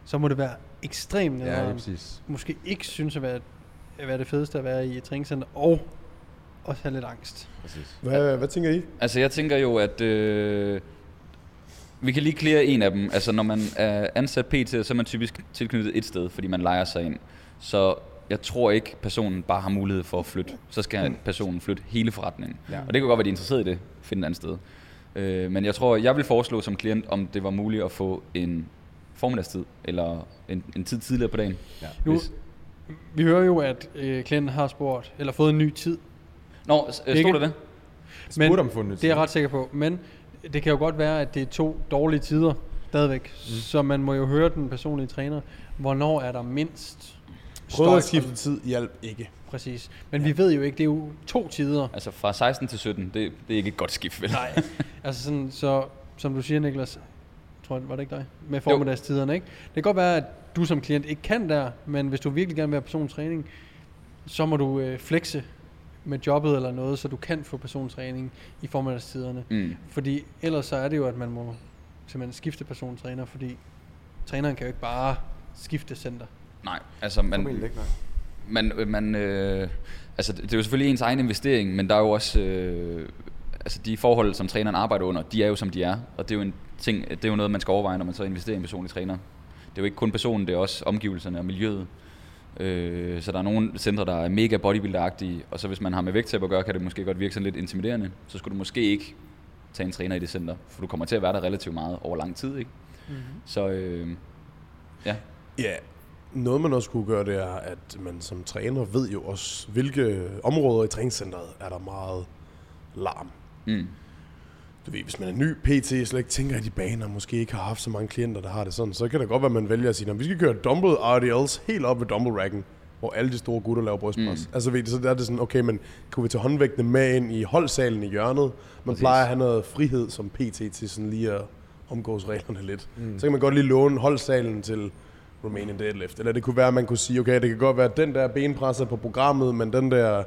så må det være ekstremt Ja, ja nederen. Mm. Ja, præcis. Måske ikke synes at være, at være det fedeste at være i et træningscenter, og også have lidt angst. præcis. Hvad, hvad tænker I? Altså, jeg tænker jo, at øh, vi kan lige klare en af dem. Altså, når man er ansat PT, så er man typisk tilknyttet et sted, fordi man leger sig ind. Så jeg tror ikke, personen bare har mulighed for at flytte. Så skal Mm. personen flytte hele forretningen. Ja. Ja. Og det kan godt være, de er interesseret i det. Finde et andet sted. Øh, men jeg tror, jeg vil foreslå som klient, om det var muligt at få en formiddagstid, eller en, en tid tidligere på dagen. Ja. Nu, vi hører jo, at øh, klienten har spurgt, eller fået en ny tid. Nå, s- øh, Ikke- stod der det? Men Spurgte om fundet. det er jeg ret sikker på. Men det kan jo godt være, at det er to dårlige tider stadigvæk. Mm. Så man må jo høre den personlige træner, hvornår er der mindst Prøvede støj. at skifte tid. Hjælp ikke. Præcis. Men vi ved jo ikke, det er jo to tider. Altså, fra 16 til 17, det, det er ikke et godt skift, vel? Nej. altså sådan, så som du siger, Niklas, tror jeg, var det ikke dig? Med formiddagstiderne, ikke? Det kan godt være, at du som klient ikke kan der, men hvis du virkelig gerne vil have persontræning, så må du øh, flexe med jobbet eller noget, så du kan få persontræning i formiddagstiderne. Mm. Fordi ellers så er det jo, at man må simpelthen skifte persontræner, fordi træneren kan jo ikke bare skifte center. Nej, altså, man, man, øh, man øh, altså det det er jo selvfølgelig ens egen investering, men der er jo også øh, altså de forhold, som træneren arbejder under, de er jo som de er, og det er jo en ting, øh, det er jo noget, man skal overveje, når man så investerer i en personlig træner. Det er jo ikke kun personen, det er også omgivelserne og miljøet. Øh, så der er nogle centre, der er mega bodybuilderagtige, og så hvis man har med vægttab at gøre, kan det måske godt virke sådan lidt intimiderende. Så skulle du måske ikke tage en træner i det center, for du kommer til at være der relativt meget over lang tid, ikke? Mm-hmm. Så øh, ja, Ja, noget man også kunne gøre, det er, at man som træner ved jo også, hvilke områder i træningscenteret er der meget larm. mm. Du ved, hvis man er ny PT, og slet ikke tænker i de baner, måske ikke har haft så mange klienter, der har det sådan, så kan det godt være, at man vælger at sige, at vi skal køre dumbbell RDLs helt op ved dumbbell racken, hvor alle de store gutter laver brystpres. Mm. Altså ved, du, så der er det sådan, okay, men kunne vi tage håndvægtene med ind i holdsalen i hjørnet? Man Præcis. plejer at have noget frihed som PT til sådan lige at omgås reglerne lidt. Mm. Så kan man godt lige låne holdsalen til Romanian deadlift. Eller det kunne være, at man kunne sige, okay, det kan godt være, at den der benpres er på programmet, men den der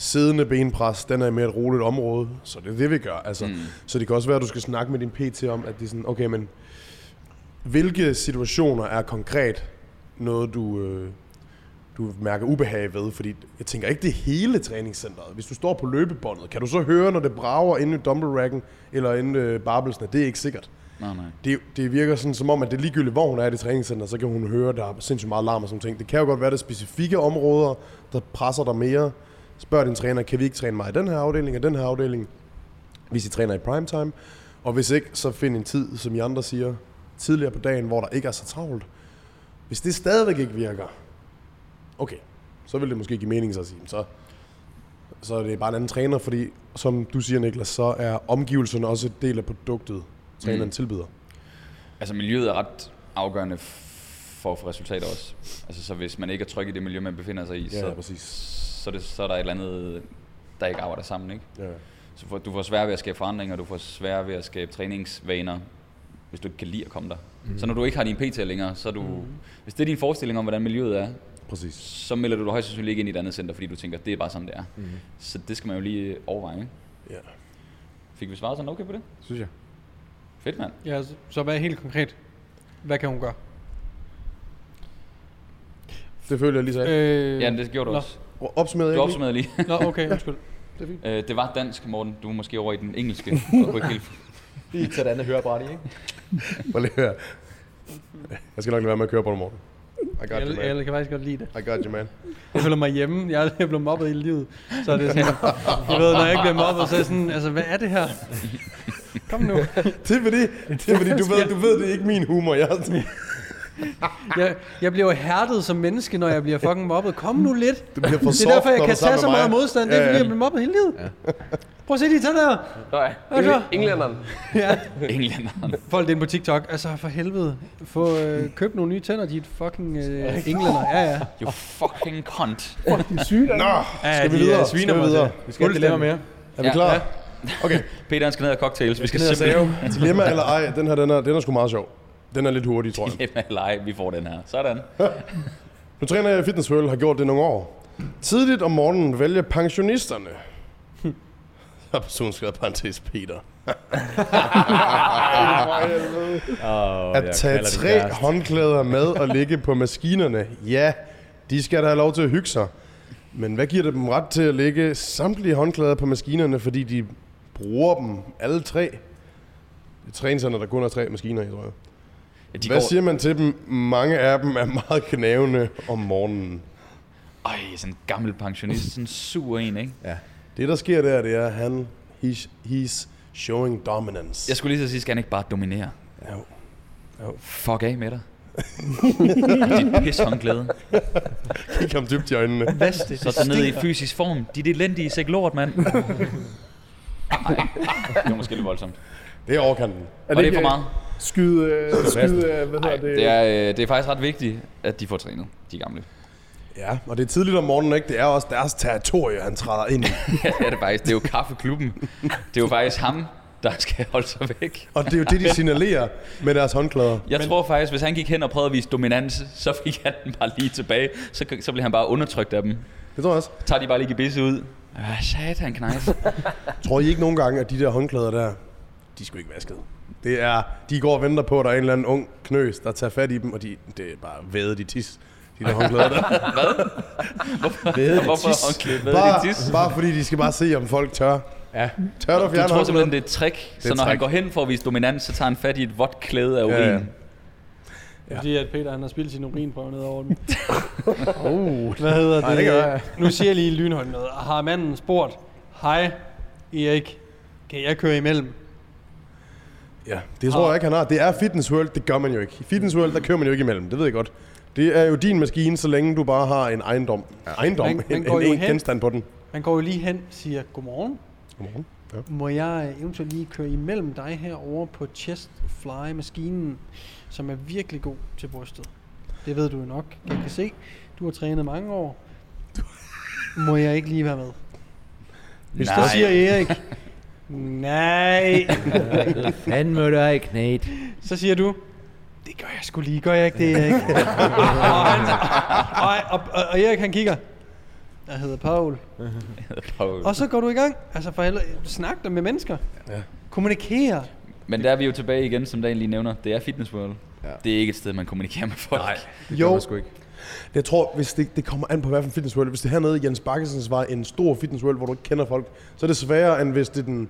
siddende benpres, den er mere et roligt område, så det er det, vi gør. Altså, mm. Så det kan også være, at du skal snakke med din PT om, at det er sådan, okay, men hvilke situationer er konkret noget, du, øh, du mærker ubehag ved? Fordi jeg tænker ikke, det er hele træningscenteret. Hvis du står på løbebåndet, kan du så høre, når det brager inde i dumbbell racken eller inde øh, barbelsene? Det er ikke sikkert. nej, nej. Det, det virker sådan som om, at det er ligegyldigt, hvor hun er i det træningscenter, så kan hun høre, der er sindssygt meget larm og sådan ting. Det kan jo godt være, at der er specifikke områder, der presser dig mere. Spørg din træner, kan vi ikke træne mig i den her afdeling og den her afdeling, hvis I træner i primetime? Og hvis ikke, så find en tid, som I andre siger, tidligere på dagen, hvor der ikke er så travlt. Hvis det stadigvæk ikke virker, okay, så vil det måske give mening så at sige, så så er det bare en anden træner, fordi som du siger, Niklas, så er omgivelserne også en del af produktet, træneren mm. tilbyder. Altså miljøet er ret afgørende f- for at få resultater også. Altså så hvis man ikke er tryg i det miljø, man befinder sig i, Ja, så, ja, præcis. så, er det, så er der et eller andet, der ikke arbejder sammen, ikke? Ja. Så får, du får svært ved at skabe forandringer, du får svært ved at skabe træningsvaner, hvis du ikke kan lide at komme der. Mhm. Mm. Så når du ikke har din PT længere, så er du... Mm. Hvis det er din forestilling om, hvordan miljøet er, Præcis. så melder du dig højst sandsynligt ikke ind i et andet center, fordi du tænker, det er bare sådan, det er. Mm. Mhm. Så det skal man jo lige overveje. ikke? Ja. Fik vi svaret sådan okay på det? synes jeg. Fedt, mand. Ja, så- så hvad er helt konkret? Hvad kan hun gøre? Det føler jeg lige så. Øh, Øh, Ja, det gjorde du Nå. også. opsummeret Du jeg ikke? opsummerede lige. Nå, okay, undskyld. Øh, det var dansk, Morten. Du er måske over i den engelske. og kunne ikke helt- Lige til det andet hørebræt i, ikke? Prøv lige at høre. Jeg skal nok lade være med at køre på dig, Morten. I got you, Jeg, man. jeg kan faktisk godt lide det. I got you, man. Jeg føler mig hjemme. Jeg er jeg er blevet mobbet hele livet. Så er det sådan, jeg ved, når jeg ikke bliver mobbet, så er jeg sådan, altså, hvad er det her? Kom nu. Det er fordi, det er fordi du, ved, du ved, det er ikke min humor. Jeg, Jeg, jeg bliver jo hærdet som menneske, når jeg bliver fucking mobbet. Kom nu lidt. du bliver for Det er derfor, jeg kan tage så meget mod. modstand. Det er, Ja, ja. fordi jeg bliver mobbet hele livet. Prøv at se de tænder der. Nej, Er du klar? englænderen. Ja. englænderen. Folk inde på TikTok. Altså, for helvede. Få øh, købt nogle nye tænder, de er et fucking øh, englænder. Ja, ja. You fucking cunt. Det er sygt. Nå, Ja, skal vi de, øh, videre? sviner Skal vi mig videre? til. Vi skal ikke dilemma mere. Er vi Ja. klar? Ja. Okay, Peter, han skal ned og cocktails. Vi skal ned og simpelthen... save. Dilemma eller ej, den her, den er, den er sgu meget sjov. Den er lidt hurtig, tror jeg. Dilemma eller ej, vi får den her. Sådan. Nu træner jeg i Fitness World, har gjort det nogle år. Tidligt om morgenen vælger pensionisterne. Jeg har personen skrevet parentes Peter. Oh, At tage tre håndklæder med og ligge på maskinerne. Ja, de skal da have lov til at hygge sig. Men hvad giver det dem ret til at lægge samtlige håndklæder på maskinerne, fordi de bruger dem alle tre? Et træningscenter, der kun har tre maskiner i, tror jeg. Ja, de Hvad siger man til dem? Mange af dem er meget knævende om morgenen. Ej, sådan en gammel pensionist. Sådan en sur en, ikke? Ja. Det, der sker der, det er, at han, he's, he's showing dominance. Jeg skulle lige så sige, skal han ikke bare dominere? Jo. Fuck af med dig. Dit pisse håndklæde. Jeg kom dybt i øjnene. Vask det. Så tag ned i fysisk form. Dit elendige sæk lort, mand. Nej, det var måske lidt voldsomt. Det er overkanten. Var Er det ikke, for meget? øh, Skyde, øh, skyde øh, hvad Nej, hedder det? det, er, øh, det er faktisk ret vigtigt, at de får trænet, de gamle. Ja, og det er tidligt om morgenen, ikke? Det er også deres territorie, han træder ind i. Ja, det er det faktisk. Det er jo kaffeklubben. Det er jo faktisk ham, der skal holde sig væk. Og det er jo det, de signalerer med deres håndklæder. Jeg tror faktisk, hvis han gik hen og prøvede at vise dominans, så fik han den bare lige tilbage. Så, så blev han bare undertrykt af dem. Det tror jeg også. Tager de bare lige gebisse ud. Hvad Ah, satan, han knejs. Tror I ikke nogen gange, at de der håndklæder der, de skulle ikke vasket? Det er, de går og venter på, at der er en eller anden ung knøs, der tager fat i dem, og de, det er bare vædet i tis. De der håndklæder der. Vædet Hvorfor håndklæde? Hvad er Bare, det tis? bare fordi de skal bare se, om folk tør. Ja. Tør du Du fjerne tror håndklæder? simpelthen, det er et trick. er Så et når han trick. går hen for at vise dominans, så tager han fat i et vådt klæde af urin. ja. Fordi at Peter han har spildt sin urinprøve ned over den. oh, hvad hedder det? Nej, det gør jeg. nu siger jeg lige lynhånd noget. Har manden spurgt, hej Erik, kan jeg køre imellem? Ja, det tror jeg ikke, han har. Det er Fitness World, det gør man jo ikke. I Fitness World, der kører man jo ikke imellem, det ved jeg godt. Det er jo din maskine, så længe du bare har en ejendom. Ejendom, Man- man en, går en, jo en hen. genstand på den. Han går jo lige hen og siger, godmorgen, Godmorgen. Ja. må jeg øh, eventuelt lige køre imellem dig herover på chest fly maskinen, som er virkelig god til brystet. Det ved du jo nok. Jeg kan se, du har trænet mange år. Må jeg ikke lige være med? Hvis Nej. Så siger Erik, nej. Han må da ikke knæt. Så siger du, det gør jeg sgu lige, gør jeg ikke det, Erik? og, han, og, og, og, Erik han kigger, jeg hedder Paul. Og så går du i gang, altså for helvede, snak dig med mennesker. Ja. Kommunikere. Men der er vi jo tilbage igen, som dagen lige nævner. Det er Fitness World. Ja. Det er ikke et sted, man kommunikerer med folk. Nej. Det Jo. jo. sgu ikke. Jeg tror, hvis det, det kommer an på, hvad for en Fitness World. Hvis det er hernede i Jens Bakkesens var en stor Fitness World, hvor du ikke kender folk, så er det sværere, end hvis det er, den,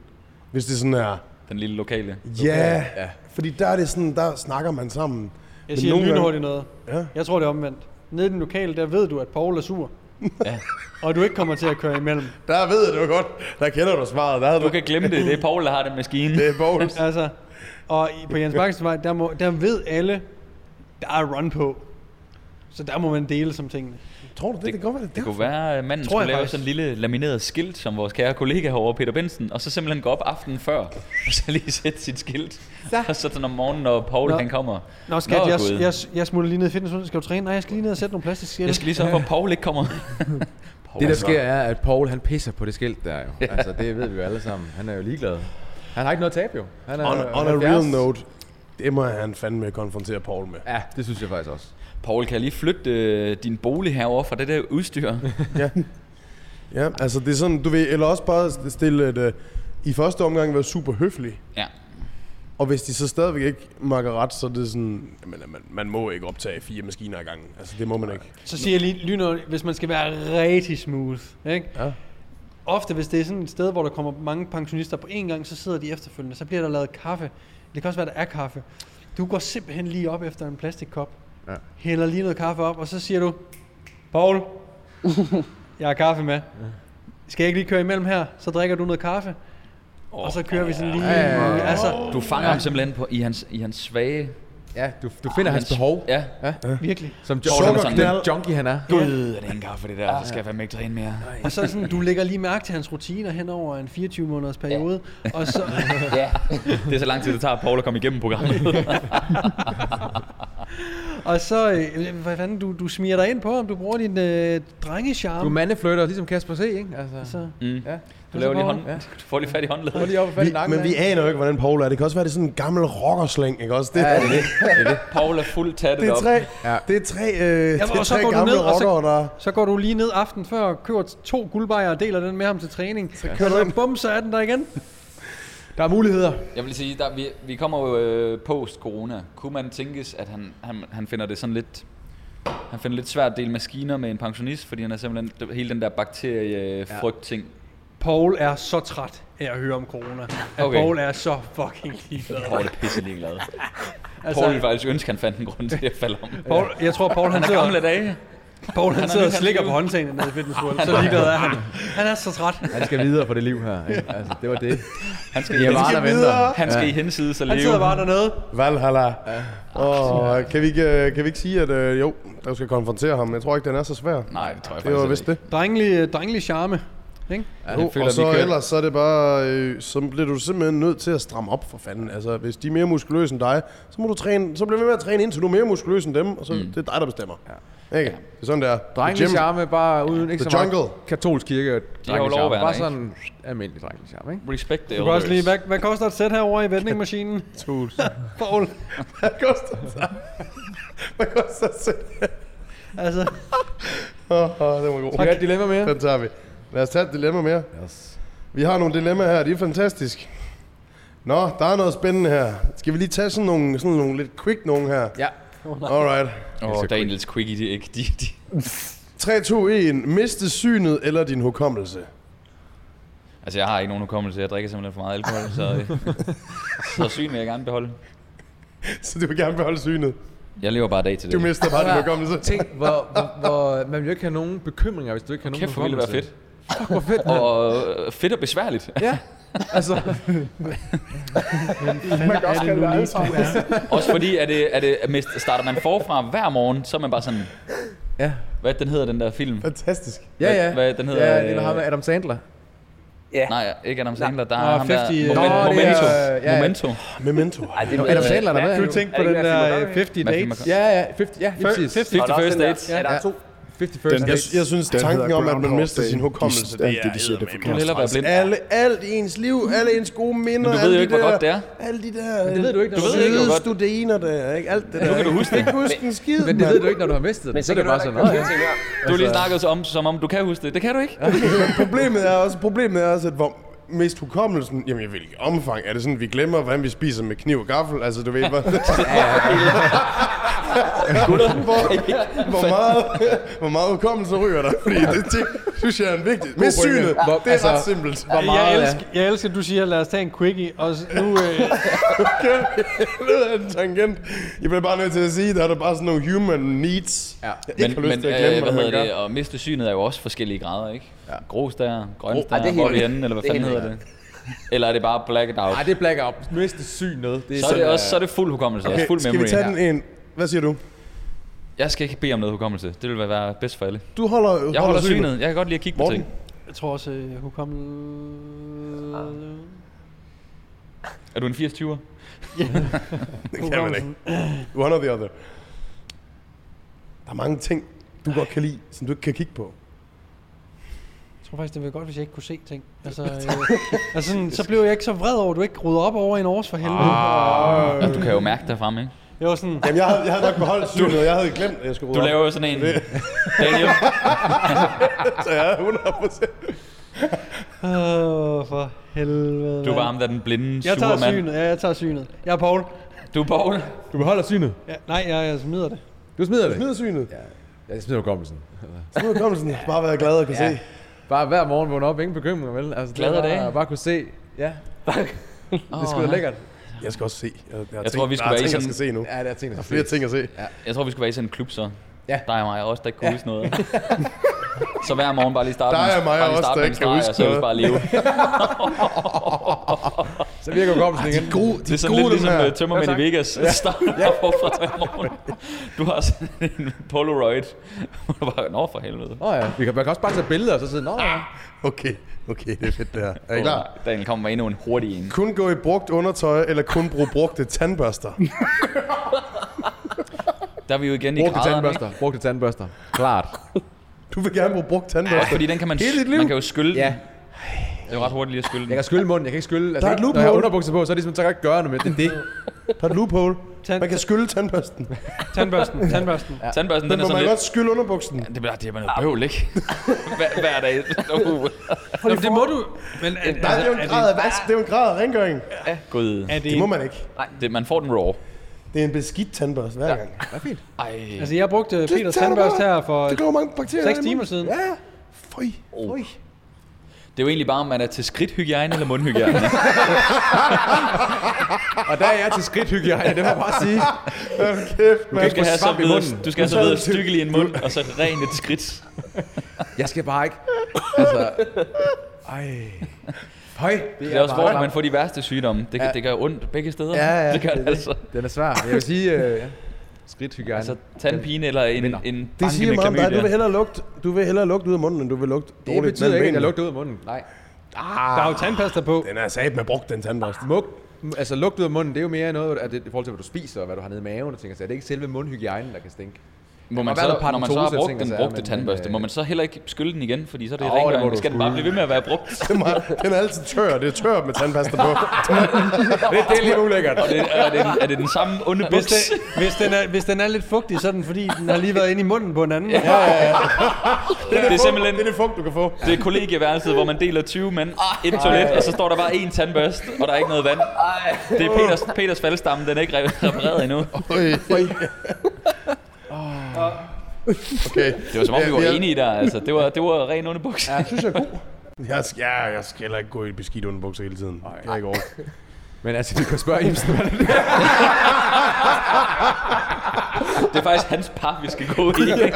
hvis det er sådan her, Den lille lokale. ja, ja, fordi der er det sådan, der snakker man sammen. Jeg Men siger nogle gange- lynhurtigt noget. Ja. Jeg tror, det er omvendt. Nede i den lokale, der ved du, at Paul er sur. Ja. Og du ikke kommer til at køre imellem. Der ved du godt, der kender du svaret. Der havde Du kan glemme det. Det er Paul, der har den maskine. det er Bowles. Altså, og i- på Jens Bakkens vej, der, må, der ved alle, der er run på. Så der må man dele som tingene. Tror du det? Det, kan godt være, det, Det kunne være, at manden Tror jeg skulle lave faktisk. sådan en lille lamineret skilt, som vores kære kollega herovre, Peter Bensen, og så simpelthen gå op aftenen før, og så lige sætte sit skilt. Så. Og så sådan om morgenen, når Paul Nå. han kommer. Nå, skat, jeg, Gud. jeg, jeg, smutter lige ned i fitness, skal jo træne. Nej, jeg skal lige ned og sætte nogle plastikskilte. Jeg skal lige så for, at Paul ikke kommer. Det der sker er, at Paul han pisser på det skilt der jo. Altså det ved vi jo alle sammen. Han er jo ligeglad. Han har ikke noget tab jo. Han er, On, han on a er real 70. note, det må han fandme konfrontere Paul med. Ja, det synes jeg faktisk også. Paul, kan jeg lige flytte øh, din bolig herover fra det der udstyr? Ja, altså det er sådan, du ved, eller også bare stille et, øh, i første omgang være super høflig. Ja. Og hvis de så stadigvæk ikke makker ret, så er det sådan, jamen, man, man må ikke optage fire maskiner ad gangen. Altså det må man ikke. Så siger jeg lige lynhurtigt, hvis man skal være rigtig smooth, ikke? Ja. Ofte, hvis det er sådan et sted, hvor der kommer mange pensionister på én gang, så sidder de efterfølgende, så bliver der lavet kaffe. Det kan også være, der er kaffe. Du går simpelthen lige op efter en plastikkop, Ja. hælder lige noget kaffe op, og så siger du, Paul, jeg har kaffe med. Skal jeg ikke lige køre imellem her? Så drikker du noget kaffe, og så kører vi sådan lige... Altså, Du fanger ham simpelthen på, i, hans, i hans svage... Ja, du, du finder hans behov. Ah, Ja. virkelig. Som Paul, han er sådan- junkie, den junkie han er. Gud, er det en kaffe, det der? Så skal jeg være med ikke træne mere. Og så sådan, du lægger lige mærke til hans rutiner hen over en 24-måneders periode, og så... Ja. Det er så lang tid, det tager Paul at komme igennem programmet. Og så, øh, hvad fanden, du, du smiger dig ind på, om du bruger din øh, drengecharme. Du er mandeflytter, ligesom Kasper C, ikke? Altså, så, Mm. ja. Du laver lige Paul? hånd... Du får lige fat i Prøv håndledet. lige op og fat i Vi, nakken men af. vi aner jo ikke, hvordan Paul er. Det kan også være, det er sådan en gammel rockerslæng, ikke også? Det, ja, det, Paul er fuldt tattet det er op. tre, Ja. det er tre, øh, og det er så går tre du gamle ned, og så- rockere, der... så går du lige ned aften før og køber to guldbajere og deler den med ham til træning. Så kører du ind. Bum, så er den der igen. Der er muligheder. Jeg vil sige, der, vi, vi kommer jo øh, post-corona. Kunne man tænkes, at han, han, han finder det sådan lidt... Han finder det lidt svært at dele maskiner med en pensionist, fordi han er simpelthen hele den der bakteriefrygt-ting. Paul er så træt af at høre om corona. Okay. Okay. Paul er så fucking ligeglad. Paul er pisse ligeglad. Altså, Paul ville faktisk ønske, han fandt en grund til at falde om. Paul, jeg tror, Paul han, Han er gamle sidder, dage. Paul, han er sidder og lidt hans slikker liv. på håndtagene nede i Fitness World. Så ligeglad er han. Han er så træt. Han skal videre på det liv her. Ikke? Altså, det var det. Han skal, Det er han bare, skal, der venter. han skal i henside sig Han leve. sidder bare dernede. Valhalla. Og kan vi ikke, øh, kan vi ikke sige, at øh, jo, der skal konfrontere ham. Jeg tror ikke, den er så svær. Nej, det tror jeg Det var faktisk vist ikke. det. Drengelig, øh, drengelig charme. Ikke? Ja, Jo, han føler, og så vi kører. ellers, så er det bare, øh, så bliver du simpelthen nødt til at stramme op for fanden. Altså, hvis de er mere muskuløse end dig, så må du træne, så bliver vi med at træne indtil du er mere muskuløs end dem, og så mm. det er dig, der bestemmer. Ja. Ikke? Det er sådan, der. Drengelig charme, bare uden ikke The så meget jungle. katolsk kirke. og drengelig lov at charme. være Bare der, sådan almindelig drengelig charme, ikke? Respect the Du kan også elders. lige, hvad, hvad koster et sæt herovre i vendingmaskinen? Paul. Hvad koster det? Hvad koster det? Altså, Åh, oh, det var Skal god. vi have et dilemma mere? Den tager vi. Lad os tage et dilemma mere. Yes. Vi har nogle dilemmaer her, de er fantastiske. Nå, der er noget spændende her. Skal vi lige tage sådan nogle, sådan nogle lidt quick nogen her? Ja. Alright. Åh, oh, Daniels quickie, de, ikke, de, de, 3, 2, 1. Miste synet eller din hukommelse? Altså, jeg har ikke nogen hukommelse. Jeg drikker simpelthen for meget alkohol, så, øh, så syn vil jeg gerne beholde. Så du vil gerne beholde synet. Jeg lever bare dag til Du det. mister bare din Ja. hukommelse. Tænk, hvor, hvor, hvor, man vil jo ikke have nogen bekymringer, hvis du ikke har nogen Kæft, hvor ville det være fedt. Fuck, hvor fedt. mand. Og øh, fedt og besværligt. Ja, altså. Man kan også kalde det Alzheimer. Også fordi, at det, at det, at mest- starter man forfra hver morgen, så er man bare sådan... Ja. Hvad den hedder, den der film? Fantastisk. Ja, ja. Hvad- hvad den hedder, Ja, det er med øh, ham med Adam Sandler. Ja. Nej, ikke Adam Sandler. Der Nå, er ham der... 50, øh, Moment, Nå, det er, momento. øh, ja. Momento. Memento. Ej, det Nå, ved Adam jeg Sandler, ikke. der kan med. du tænke Er på det den ikke den der der film, øh, 50 Matthew Dates? McConaughey. Ja, ja, 50, ja, lige Fir- præcis. 50 Og der er også First den der- dates. Ja, der er to. 50 first Jeg, dates. jeg synes, tanken om, at man mister sin hukommelse, det er det, de siger, det er eddermame forkert. Du vil hellere være blind. Mm. Alle, alt i ens liv, alle ens gode minder, Men du ved alle jo de ikke, hvor der- godt det er. Alle de der Men det ved du ikke, når Du du, ved ikke, hvor søde godt- studiner der, ikke? Alt det der. kan du ikke? huske det. Jeg kan huske en skid, men det ved du ikke, når du har mistet Men det. så Så er kan det du bare heller sådan, ikke komme "Nå, til at Du har lige snakket om, som om du kan huske det. Det kan du ikke. Men problemet er også, problemet er også, at hvor mest hukommelsen, jamen i hvilket omfang, er det sådan, at vi glemmer, hvordan vi spiser med kniv og gaffel? Altså, du ved, hvor, hvor, hvor, meget, hvor meget hukommelse ryger der? Fordi det, det synes jeg er en vigtig. Med pointe. synet, Hvor- det er altså, ret simpelt. Hvor jeg, meget elsker, jeg elsker, at du siger, lad os tage en quickie, og s- nu... Øh, Det er en tangent. Jeg bliver bare nødt til at sige, der er der bare sådan nogle human needs. Ja. Jeg ikke Men, har lyst men til at øh, glemme, hvad hvad man hedder gør. det? Og miste synet er jo også forskellige grader, ikke? Ja. Grus der, grøn Ej, det der, er helt hvor vi vildt. enden, eller hvad Det er fanden helt hedder det? Eller er det bare blackout? Nej, det er blackout. Miste syn noget. Det Så er det sådan, også så er det fuld hukommelse, okay, også fuld skal vi memory. tage den en... Hvad siger du? Jeg skal ikke bede om noget hukommelse. Det vil være bedst for alle. Du holder, Jeg holder synet. Jeg kan godt lide at kigge på Morten? ting. Jeg tror også, øh, jeg kunne komme... Er du en 80-20'er? Det kan man ikke. One or the other. Der er mange ting, du godt kan lide, som du ikke kan kigge på. Jeg tror faktisk, det ville være godt, hvis jeg ikke kunne se ting. Altså, øh, altså sådan, så blev jeg ikke så vred over, at du ikke rydder op over en års for helvede. Ah. Øh. Ja, du kan jo mærke derfra, ikke? Jeg var sådan, Jamen, jeg havde, jeg havde nok beholdt synet, og jeg havde glemt, at jeg skulle Du rydde laver jo sådan en... Daniel, op. Så jeg er 100%. åh, for helvede. du var mand." ham, der er den blinde, Jeg tager sure mand. synet, ja, jeg tager synet. Jeg er Paul. Du er Paul. Du beholder synet. Ja, nej, jeg, jeg smider det. Du smider det. Smider synet. Ja. Jeg smider hukommelsen. Smider kommelsen. Bare være glad og kan ja. se. Bare hver morgen vågner op, ingen bekymringer, vel? Altså, det er Glade bare- dage. Bare kunne se. Ja, det er sgu da lækkert. Jeg skal også se. Jeg, jeg, Jeg tror, vi skulle være i ting, sådan- jeg skal se nu. Ja, det er ting, der Flere ting at se. Jeg tror, vi skulle være i sådan en klub så. Ja. Der er mig og os, der ikke kunne huske noget. så hver morgen bare lige starte Der med- er mig og bare lige os, starte der med en ikke kan streg, huske og så er vi noget. bare leve. Så virker hukommelsen igen. Gode, Det er sådan lidt ligesom uh, tømmermænd Ja, ja, i tak. Vegas. Ja. Starter ja. forfra hver morgen. Du har sådan en Polaroid. Hvor du bare, nå for helvede. Nå ja, vi kan, man kan også bare tage billeder og så sidde, nå ja. Okay, okay, det er fedt det her. Er I klar? Daniel kommer med endnu en hurtig en. Kun gå i brugt undertøj, eller kun bruge brugte tandbørster. Der er vi jo igen i Brugte graderne, ikke? tandbørster, brugte tandbørster. Klart. Du vil gerne bruge brugt Ja, tandbørster. fordi den kan man, Hele dit liv. man kan jo skylle den. Ja. Det er jo ret hurtigt lige at skylle Jeg den. kan skylle munden, jeg kan ikke skylle. Altså, Der er et ikke- når jeg har loophole. underbukser på, så er det ligesom, så kan jeg ikke gøre noget med det. Det er det. Der er et loophole. Tand- Man kan skylle tandbørsten. Tandbørsten, tandbørsten. Ja. Tandbørsten, Men den er må man sådan lidt... godt skylle underbuksen? Det bliver, det er man noget bøvl, ikke? hver, hver dag. Uh. Nå, men det må du... Men er, Nej, det er jo er, en grad det, af vask. Det er jo en grad af rengøring. Gud. er det, Det må man ikke. Det, man får den raw. Det er en beskidt tandbørste hver gang. Ej. Altså, jeg brugte Peters tager du tandbørste bare. her for Der kommer mange bakterier. 6 i munden. timer siden. Ja, ja. Føj. Oh. Det er jo egentlig bare, om man er til skridthygiejne eller mundhygiejne. Og der er jeg til skridthygiejne, det må jeg bare sige. Kæft, man. Du skal have så svamp i videre, munden. du skal have så videre stykke i en mund, og så rent et skridt. Jeg skal bare ikke. Altså, ej. Høj. Det er også, hvor man får de værste sygdomme. Det, ja. det gør ondt begge steder. Ja, ja, det gør det, altså. Den er svær. Jeg vil sige, øh, ja. skridthygiejne. Altså, tandpine eller en, en bankende Det siger meget om dig. klamydia. Du vil hellere lugte, du vil hellere lugte ud af munden, end du vil lugte det dårligt betyder mellem ikke, at jeg lugter benene. ud af munden. Nej. Der er jo tandpasta på. Den er sat med brugt, den tandbørste. Mug, altså lugt ud af munden, det er jo mere noget at det, i forhold til, hvad du spiser og hvad du har nede i maven og ting. Altså, det er ikke selve mundhygiejnen, der kan stinke. Må man Der må så, være noget når man så har paradentose, brugt ting og den sager, brugte men, tandbørste, øh, må man så heller ikke skylle den igen, fordi så er det Åh, oh, det må rengøring. du Skal den bare skulle. blive ved med at være brugt? Det er meget- Den er altid tør. Det er tørt med tandpasta på. Det, det er lidt ulækkert. Og det, er, det, en- er det den samme onde Hvis, buks? det, hvis, den er, hvis den er lidt fugtig, så er den fordi, den har lige været inde i munden på en anden. Ja. Det er simpelthen Det er det fugt, du kan få. det er kollegieværelset, hvor man deler 20 mænd, et toilet, og så står der bare én tandbørste, og der er ikke noget vand. Det er Peters, Peters faldstamme, den er ikke re- repareret endnu. Okay. Det var som om, vi Ja, var ja. enige der, altså. Det var, det var ren underbuks. Jeg synes, jeg er god. Jeg, skal- ja, jeg skal heller ikke gå i beskidt underbukser hele tiden. Nej, jeg ikke over. Men altså, du kan spørge Ibsen, hvad det er. Det er faktisk hans par, vi skal gå i.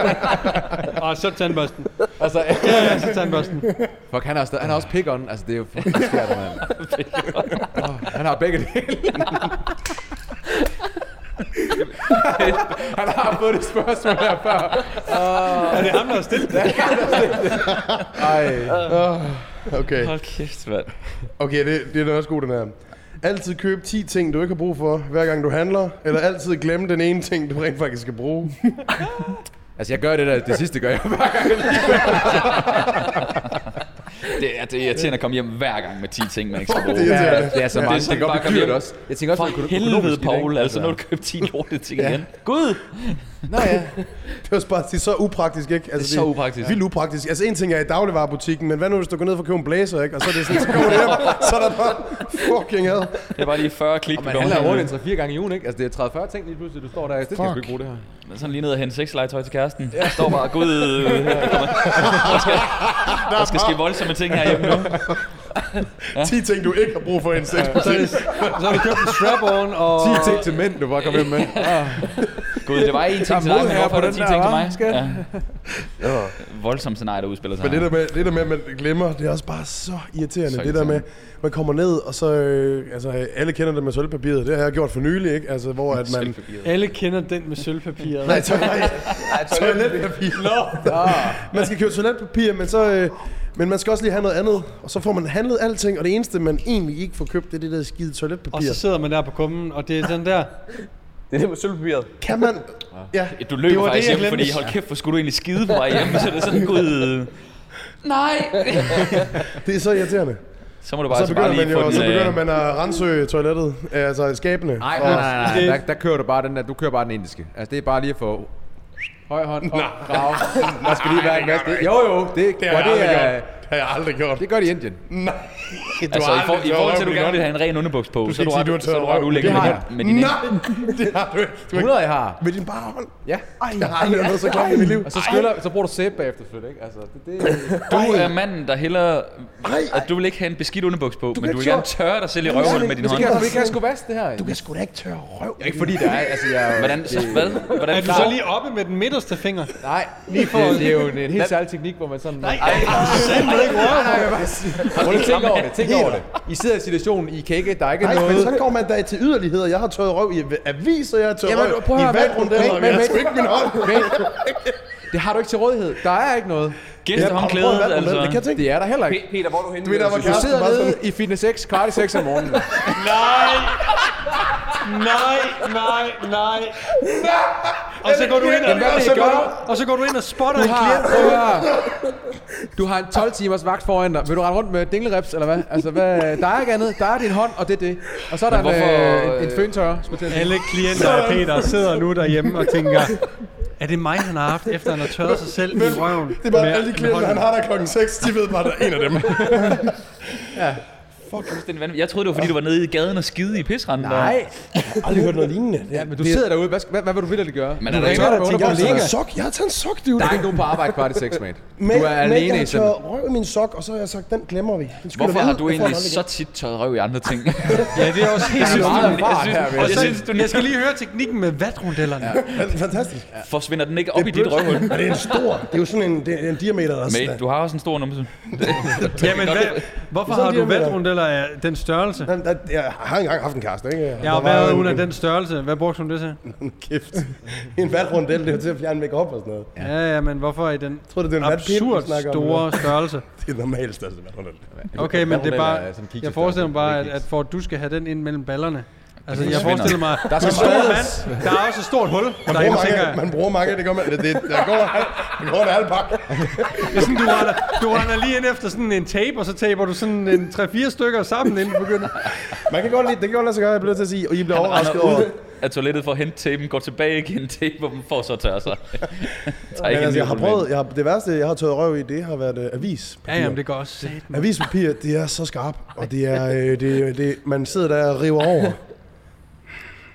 Og så tandbørsten. Altså, Ja, så tandbørsten. fuck, han har, stadig, han har også pick on. Altså, det er jo fucking skært, mand. Oh, han har begge dele. han har fået det spørgsmål her før. Er det ham, der har stillet det? Ej. Okay. Hold kæft, mand. Okay, det, det er den også god, den her. Altid køb 10 ting, du ikke har brug for, hver gang du handler, eller altid glemme den ene ting, du rent faktisk skal bruge. Altså, jeg gør det der, det sidste gør jeg bare. Det er, det er irriterende at komme hjem hver gang med 10 ting, man ikke skal Det bruge. er Ja, det er så Ja. mange Det er ting, sådan og bare det kom bliver dyrt hjem. også. Jeg tænker også, For økono- helvede, økonomisk i det, ikke? Paul, altså nu har du købt 10 lorte ting igen. Gud! Nå ja, Det er også bare det er så upraktisk, ikke? Altså, Det er så upraktisk. Vildt upraktisk. Altså, en ting er i dagligvarebutikken, men hvad nu, hvis du går ned for at købe en blazer, ikke? Og så er det sådan, så kommer du hjem, så er der bare fucking ad. Det er bare lige 40 klik, du man kommer handler hjem rundt med. en 3-4 gange i ugen, ikke? Altså, det er 30-40 ting lige pludselig, du står der. Det skal jeg sgu ikke bruge det her. Men Sådan lige ned og hente sexlegetøj til kæresten. Jeg står bare, gud, øh, der, kommer, der, skal, der skal ske voldsomme ting herhjemme nu. Ja. 10 ting, du ikke har brug for i en sexbutik. Så har du købt en strap-on, og... 10 ting til mænd, du bare kom hjem med. Gud, det var én ting til dig, men hvorfor er der 10 ting til mig? Ja. Ja. Voldsomt scenarie, der udspiller sig Men det her. der, med, det der med, at man glemmer, det er også bare så irriterende. Så Så det der med, irriterende. man kommer ned, og så... Øh, altså, alle kender det med sølvpapiret. Det har jeg gjort for nylig, ikke? Altså, hvor at man... Alle kender den med sølvpapiret. Nej, tøj, nej. toiletpapir. man skal købe toiletpapir, men så... Øh, men man skal også lige have noget andet, og så får man handlet alting, og det eneste, man egentlig ikke får købt, det er det der skide og toiletpapir. så sidder man der på kummen, og det er den der... Det er det med sølvpapiret. Kan man... Ja, Du løber Det var det, faktisk jeg hjem, fordi glemte. hold kæft, hvor skulle du egentlig skide på vej hjem? Så er det sådan, gud... Nej! det er så irriterende. Så må du Og bare, så altså bare begynder, lige man, få jo, den... så begynder øh, man at rense toilettet, altså skabene. Nej, nej, nej, nej. Der, der, kører du bare den der, du kører bare den indiske. Altså, det er bare lige at få høj hånd op, grav. Der skal lige være en masse. Det, jo, jo, det, det, har jeg det, aldrig er, gjort. Det har jeg aldrig gjort. det gør de i Indien. Altså, i, for, i forhold til, at du gerne vil have... have en ren underbuks på, Du så skal er du ikke sige, ret, du har så er tørret du ret røv. ulækker Det med, har din- med din Nej, det har du ikke. Du har 100 jeg har. Med din bare hånd. Ja. Jeg har aldrig været så klar i mit liv. Og så, skyller, så bruger du sæbe bagefter, selvfølgelig, ikke? Altså, det, det, Du er manden, der hellere... Ej. At du vil ikke have en beskidt underbuks på, men kan du vil ikke gerne tørre- tørre dig selv i røvhullet med din det hånd. skal jeg- det kan jeg sgu vaske, det her. Du kan sgu da ikke tørre røv. Ikke fordi der er, altså jeg... Hvordan, så, hvad? Hvordan Er du så lige oppe med den midterste finger? Nej, lige for... Det, det er jo en, en helt særlig teknik, hvor man sådan... Nej, nej, nej, nej, tænk over det, tænk over det. I sidder i situationen, I kan ikke, der er ikke Nej, noget... men så går man da til yderligheder. Jeg har tørret røv i aviser, jeg har tørret Jamen, røv prøv at i høre, men- valgrundeller. men- Jeg har men- sgu ikke min hånd. Det har du ikke til rådighed. Der er ikke noget. Gæste Jeg har prøvet håndklædet, valgrundeller, altså. Det kan jeg tænke. Det er der heller ikke. Peter, hvor er du henne? Du ved, der var Du kæresten sidder bare sådan, nede i fitness 6, kvart i 6 om morgenen. Nej, nej, nej. Og så går du ind Jamen, hvad og, vil og, I så går gøre? du, og så går du ind og spotter Du en har, klient. prøv at høre. du har en 12-timers vagt foran dig. Vil du rende rundt med dinglerips, eller hvad? Altså, hvad? Der er ikke andet. Der er din hånd, og det er det. Og så er der en, hvorfor, øh, en, en øh, føntørrer, skulle jeg til at sige. Alle klienter af Peter sidder nu derhjemme og tænker, er det mig, han har haft, efter han har tørret sig selv i røven? Det er bare alle de klienter, han har der klokken 6. De ved bare, der er en af dem. Fuldstændig vanvittigt. Jeg troede, det var, fordi du var nede i gaden og skide i pisranden. Nej, Jeg har aldrig hørt noget lignende. ja, men du sidder derude. Hvad, skal- hvad, hvad vil du vitterligt gøre? Men Du er der ikke tørrer noget, med der Jeg har underbukser. taget en sok. Jeg har taget en sok, dude. Der er ikke nogen på arbejde kvart i 6, mate. Du Men, er men jeg alene i har sådan. tørret røv i min sok, og så har jeg sagt, den glemmer vi. Den skulle Hvorfor være- har du jeg får den egentlig aldrig så tit tørret røv i andre ting? Ja, det er også helt Der er sygt. meget erfaring her, vil jeg Jeg Og sige. synes, så, Altså, jeg skal lige høre teknikken med vatrundellerne. igen. Fantastisk. forsvinder den ikke op i dit røvhul. Og det er en stor, det er jo sådan en, det er en diameter, altså. der er sådan- Mate, du har også en stor numse. Jamen, hvad, hvorfor Så har lige du om lidt. vatrundeller af den størrelse? Den, der, jeg har engang haft en kæreste, ikke? Jeg har været under den størrelse. Hvad brugte hun det til? Kæft. En valgrundel, det er jo til at fjerne make-up og sådan noget. Jeg Ja, ja, men hvorfor i den tror, det er en vatpind, vi absurd snakker om. store størrelse? Det er normalt største valgrundel. Okay, men det er bare... Vatrundel er sådan kiks- Jeg forestiller mig bare, at, Det er at for at du skal have den ind mellem ballerne... Altså, jeg forsvinder. forestiller mig... Der skal Stor størres. mand. Der er også et stort hul Man derinde, bruger, tænker mange, jeg. man bruger mange, det gør man. Det, det, der går, der går en halv pakke. Det er sådan, du, render, du render lige ind efter sådan en tape, og så taber du sådan en 3-4 stykker sammen, inden du begynder. Man kan godt lide, det kan godt lade sig gøre, jeg bliver nødt til at sige, og I bliver overrasket render over. ud af toilettet for at hente tapen, går tilbage igen til tapen, og dem får så tørre sig. Tager Men ikke en altså, jeg har lille prøvet, jeg har, det værste, jeg har tørret røv i, det har været øh, avis. Ja, jamen, det går også sat. Avispapir, det er så skarpt, og det er, øh, det, det, man sidder der og river over.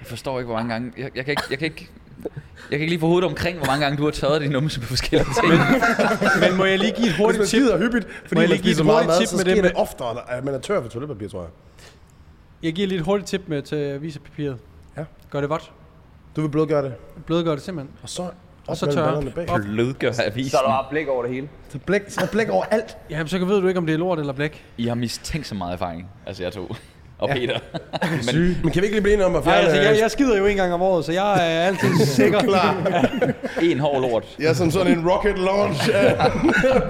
Jeg forstår ikke, hvor mange gange... Jeg, jeg, kan, ikke, jeg, kan, ikke, jeg kan ikke lige få hovedet omkring, hvor mange gange du har tørret din numse på forskellige ting. Men må jeg lige give et Hvis hurtigt tip? man skider hyppigt, fordi Må jeg man lige give spiser et meget hurtigt mad, tip så med det sker det med- oftere, at man er tør for toiletpapir, tror jeg. Jeg giver lige et hurtigt tip med til avisepapiret. Ja. Gør det vådt. Du vil blødgøre det. Blødgør det simpelthen. Og så Og op så mellem tørre. ballerne bag. Op. Blødgør avisen. Så er der bare blik over det hele. Så blæk, så blæk over alt. Jamen, så ved du ikke, om det er lort eller blæk. I har mistænkt så meget erfaring. Altså, jeg to. Og Peter. Men Men kan vi ikke lige blive enige om at Nej, fjerne... øh, altså, jeg, jeg skider jo en gang om året, så jeg er altid sikker. en hård lort. Jeg er som sådan en rocket launch. af-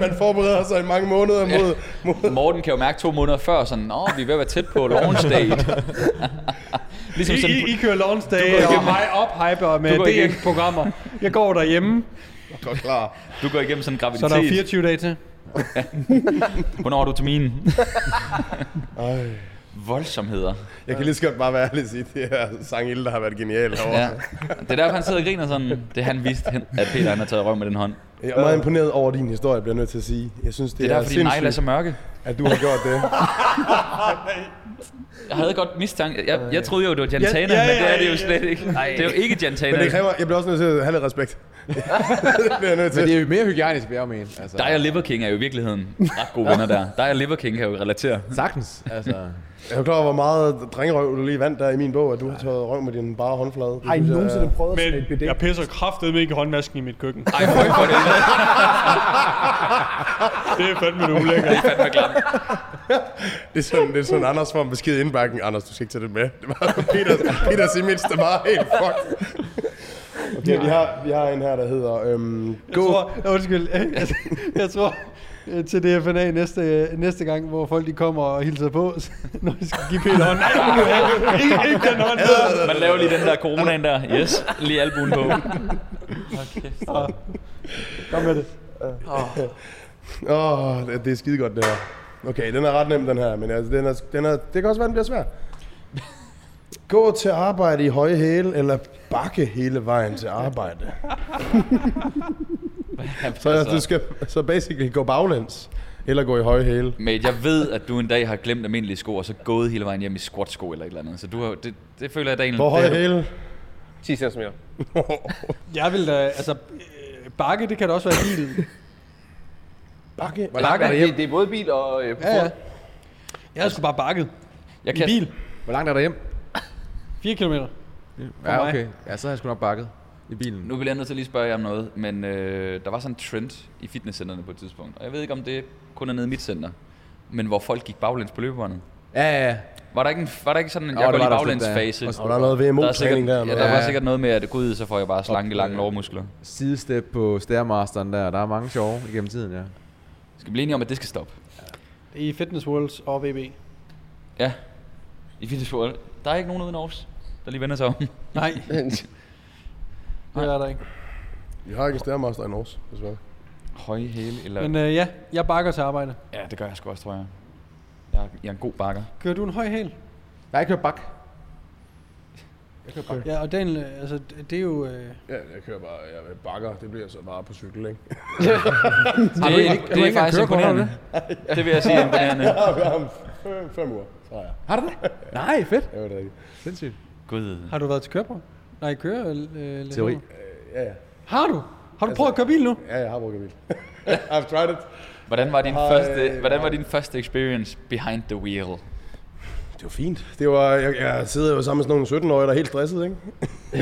man forbereder sig i mange måneder mod... mod Morten kan jo mærke to måneder før, sådan, åh, vi er ved at være tæt på launch date. ligesom sådan, I, I, I kører launch day går og igennem- mig op med Du går igennem- DM-programmer. Jeg går derhjemme, Godt klar. du går igennem sådan en så der er graviditet. 24 dage til. Hvornår er du til min? Voldsomheder. Jeg kan lige så godt bare være ærlig og sige, det her sangilde, der har været genial herovre. Ja. Det er derfor, han sidder og griner sådan. Det han vidste, han- at Peter han har taget røv med den hånd. Det Jeg er meget imponeret over din historie, bliver jeg nødt til at sige. Jeg synes, det, er derfor, dine negle er så sindssygt, mørke. at du har gjort det. Jeg havde godt mistanke. Jeg, jeg troede jo, det var Jantana, Ja, ja, men det ja, er det ja, jo slet ikke. Det er jo ikke Jantana. Men det kræver, jeg bliver også nødt til at have lidt respekt. det bliver jeg nødt Men til. det er jo mere hygiejnisk, vil jeg jo mene. Altså, Dig og Liver King er jo i virkeligheden ret gode venner der. Dig og Liver King kan jo relatere. Sagtens. Altså, Jeg er jo klar over, hvor meget drengerøv du lige vandt der i min bog, at du har tørret røv med din bare håndflade. Det Har I synes jeg er- nogensinde prøvet at tage et Men bidet? jeg pisser kraftedeme ikke i håndvasken i mit køkken. Ej, for for det. Det er fandme det ulækkert. Det er fandme klamt. Det er sådan, det er sådan Anders får en besked i indbakken. Anders, du skal ikke tage det med. Det var Peter, Peters image, der var helt fucked. Okay, vi har, vi har en her, der hedder... Øhm, Jeg gå. tror, ja, undskyld, jeg, jeg tror øh, til DFNA næste, øh, næste gang, hvor folk de kommer og hilser på, så- når de skal give Peter hånd. Nej, nu er jeg- ikke, ikke den hånd der. Man laver lige den der coronaen der. Yes, lige albuen på. Kom med det. Åh, oh, det, det er skide godt, det her. Okay, den er ret nem, den her, men altså, den er, den er, det kan også være, den bliver svær. Gå til arbejde i høje hæle, eller bakke hele vejen til arbejde. så, altså. du skal, så basically gå baglæns, eller gå i høje hæle. Mate, jeg ved, at du en dag har glemt almindelige sko, og så gået hele vejen hjem i squatsko eller et eller andet. Så du har, det, det føler jeg, at Hvor høje hæle? 10 cm. Jeg vil da, altså, øh, bakke, det kan da også være bilen. Bakke? Hvor langt er det, det er både bil og... Øh, Ja, ja. Jeg har sgu bare bakket. Jeg I bil. hvor langt er der hjem? 4 km. Ja, mig. okay. Ja, så har jeg sgu nok bakket i bilen. Nu bliver jeg nødt til at lige spørge jer om noget, men øh, der var sådan en trend i fitnesscenterne på et tidspunkt, og jeg ved ikke, om det kun er nede i mit center, men hvor folk gik baglæns på løbebåndet. Ja, ja, ja. Var der ikke en, var der ikke sådan en, Åh, jeg går der lige var der også lidt, baglænsfase? ja. Og der er noget Der er VMO-træning sikkert, der. ja, der var Ja. sikkert noget med, at gud, så får jeg bare slanke, lange lårmuskler. Sidestep på stærmasteren der. Der er mange sjove igennem tiden, ja. Skal vi blive enige om, at det skal stoppe? I Fitness Worlds og VB. Ja. I Fitness World. Der er ikke nogen uden Aarhus, der lige vender sig om. Nej, det er der ikke. Vi har ikke en stærmaster i Norge, desværre. Høje hæle, eller... Men øh, ja, jeg bakker til arbejde. ja, det gør jeg sgu også, tror jeg. Jeg er, jeg er en god bakker. Kører du en høj hæl? Jeg har ikke hørt bak. Ja, og Daniel, øh, altså, det er jo... Øh, Ja, jeg kører bare jeg bakker. Det bliver så bare på cykel, ikke? Det, det, ikke- har det, du det er ikke faktisk kørekort, har du imponerende. Det vil jeg sige er imponerende. Fem, fem uger, tror jeg. Har du det? Nej, fedt. Ja, det er rigtigt. Sindssygt. Gud. har du været til køreprøve? Nej, køre... Øh, lidt Teori. over. Ja, ja. Har du? Har du prøvet at køre bil nu? Ja, jeg har brugt en bil. I've tried it. Hvordan var din, Ej, første, hvordan var din første experience behind the wheel? Det var fint. Det var, jeg, jeg sidder jo sammen med sådan nogle 17-årige, der er helt stresset, ikke?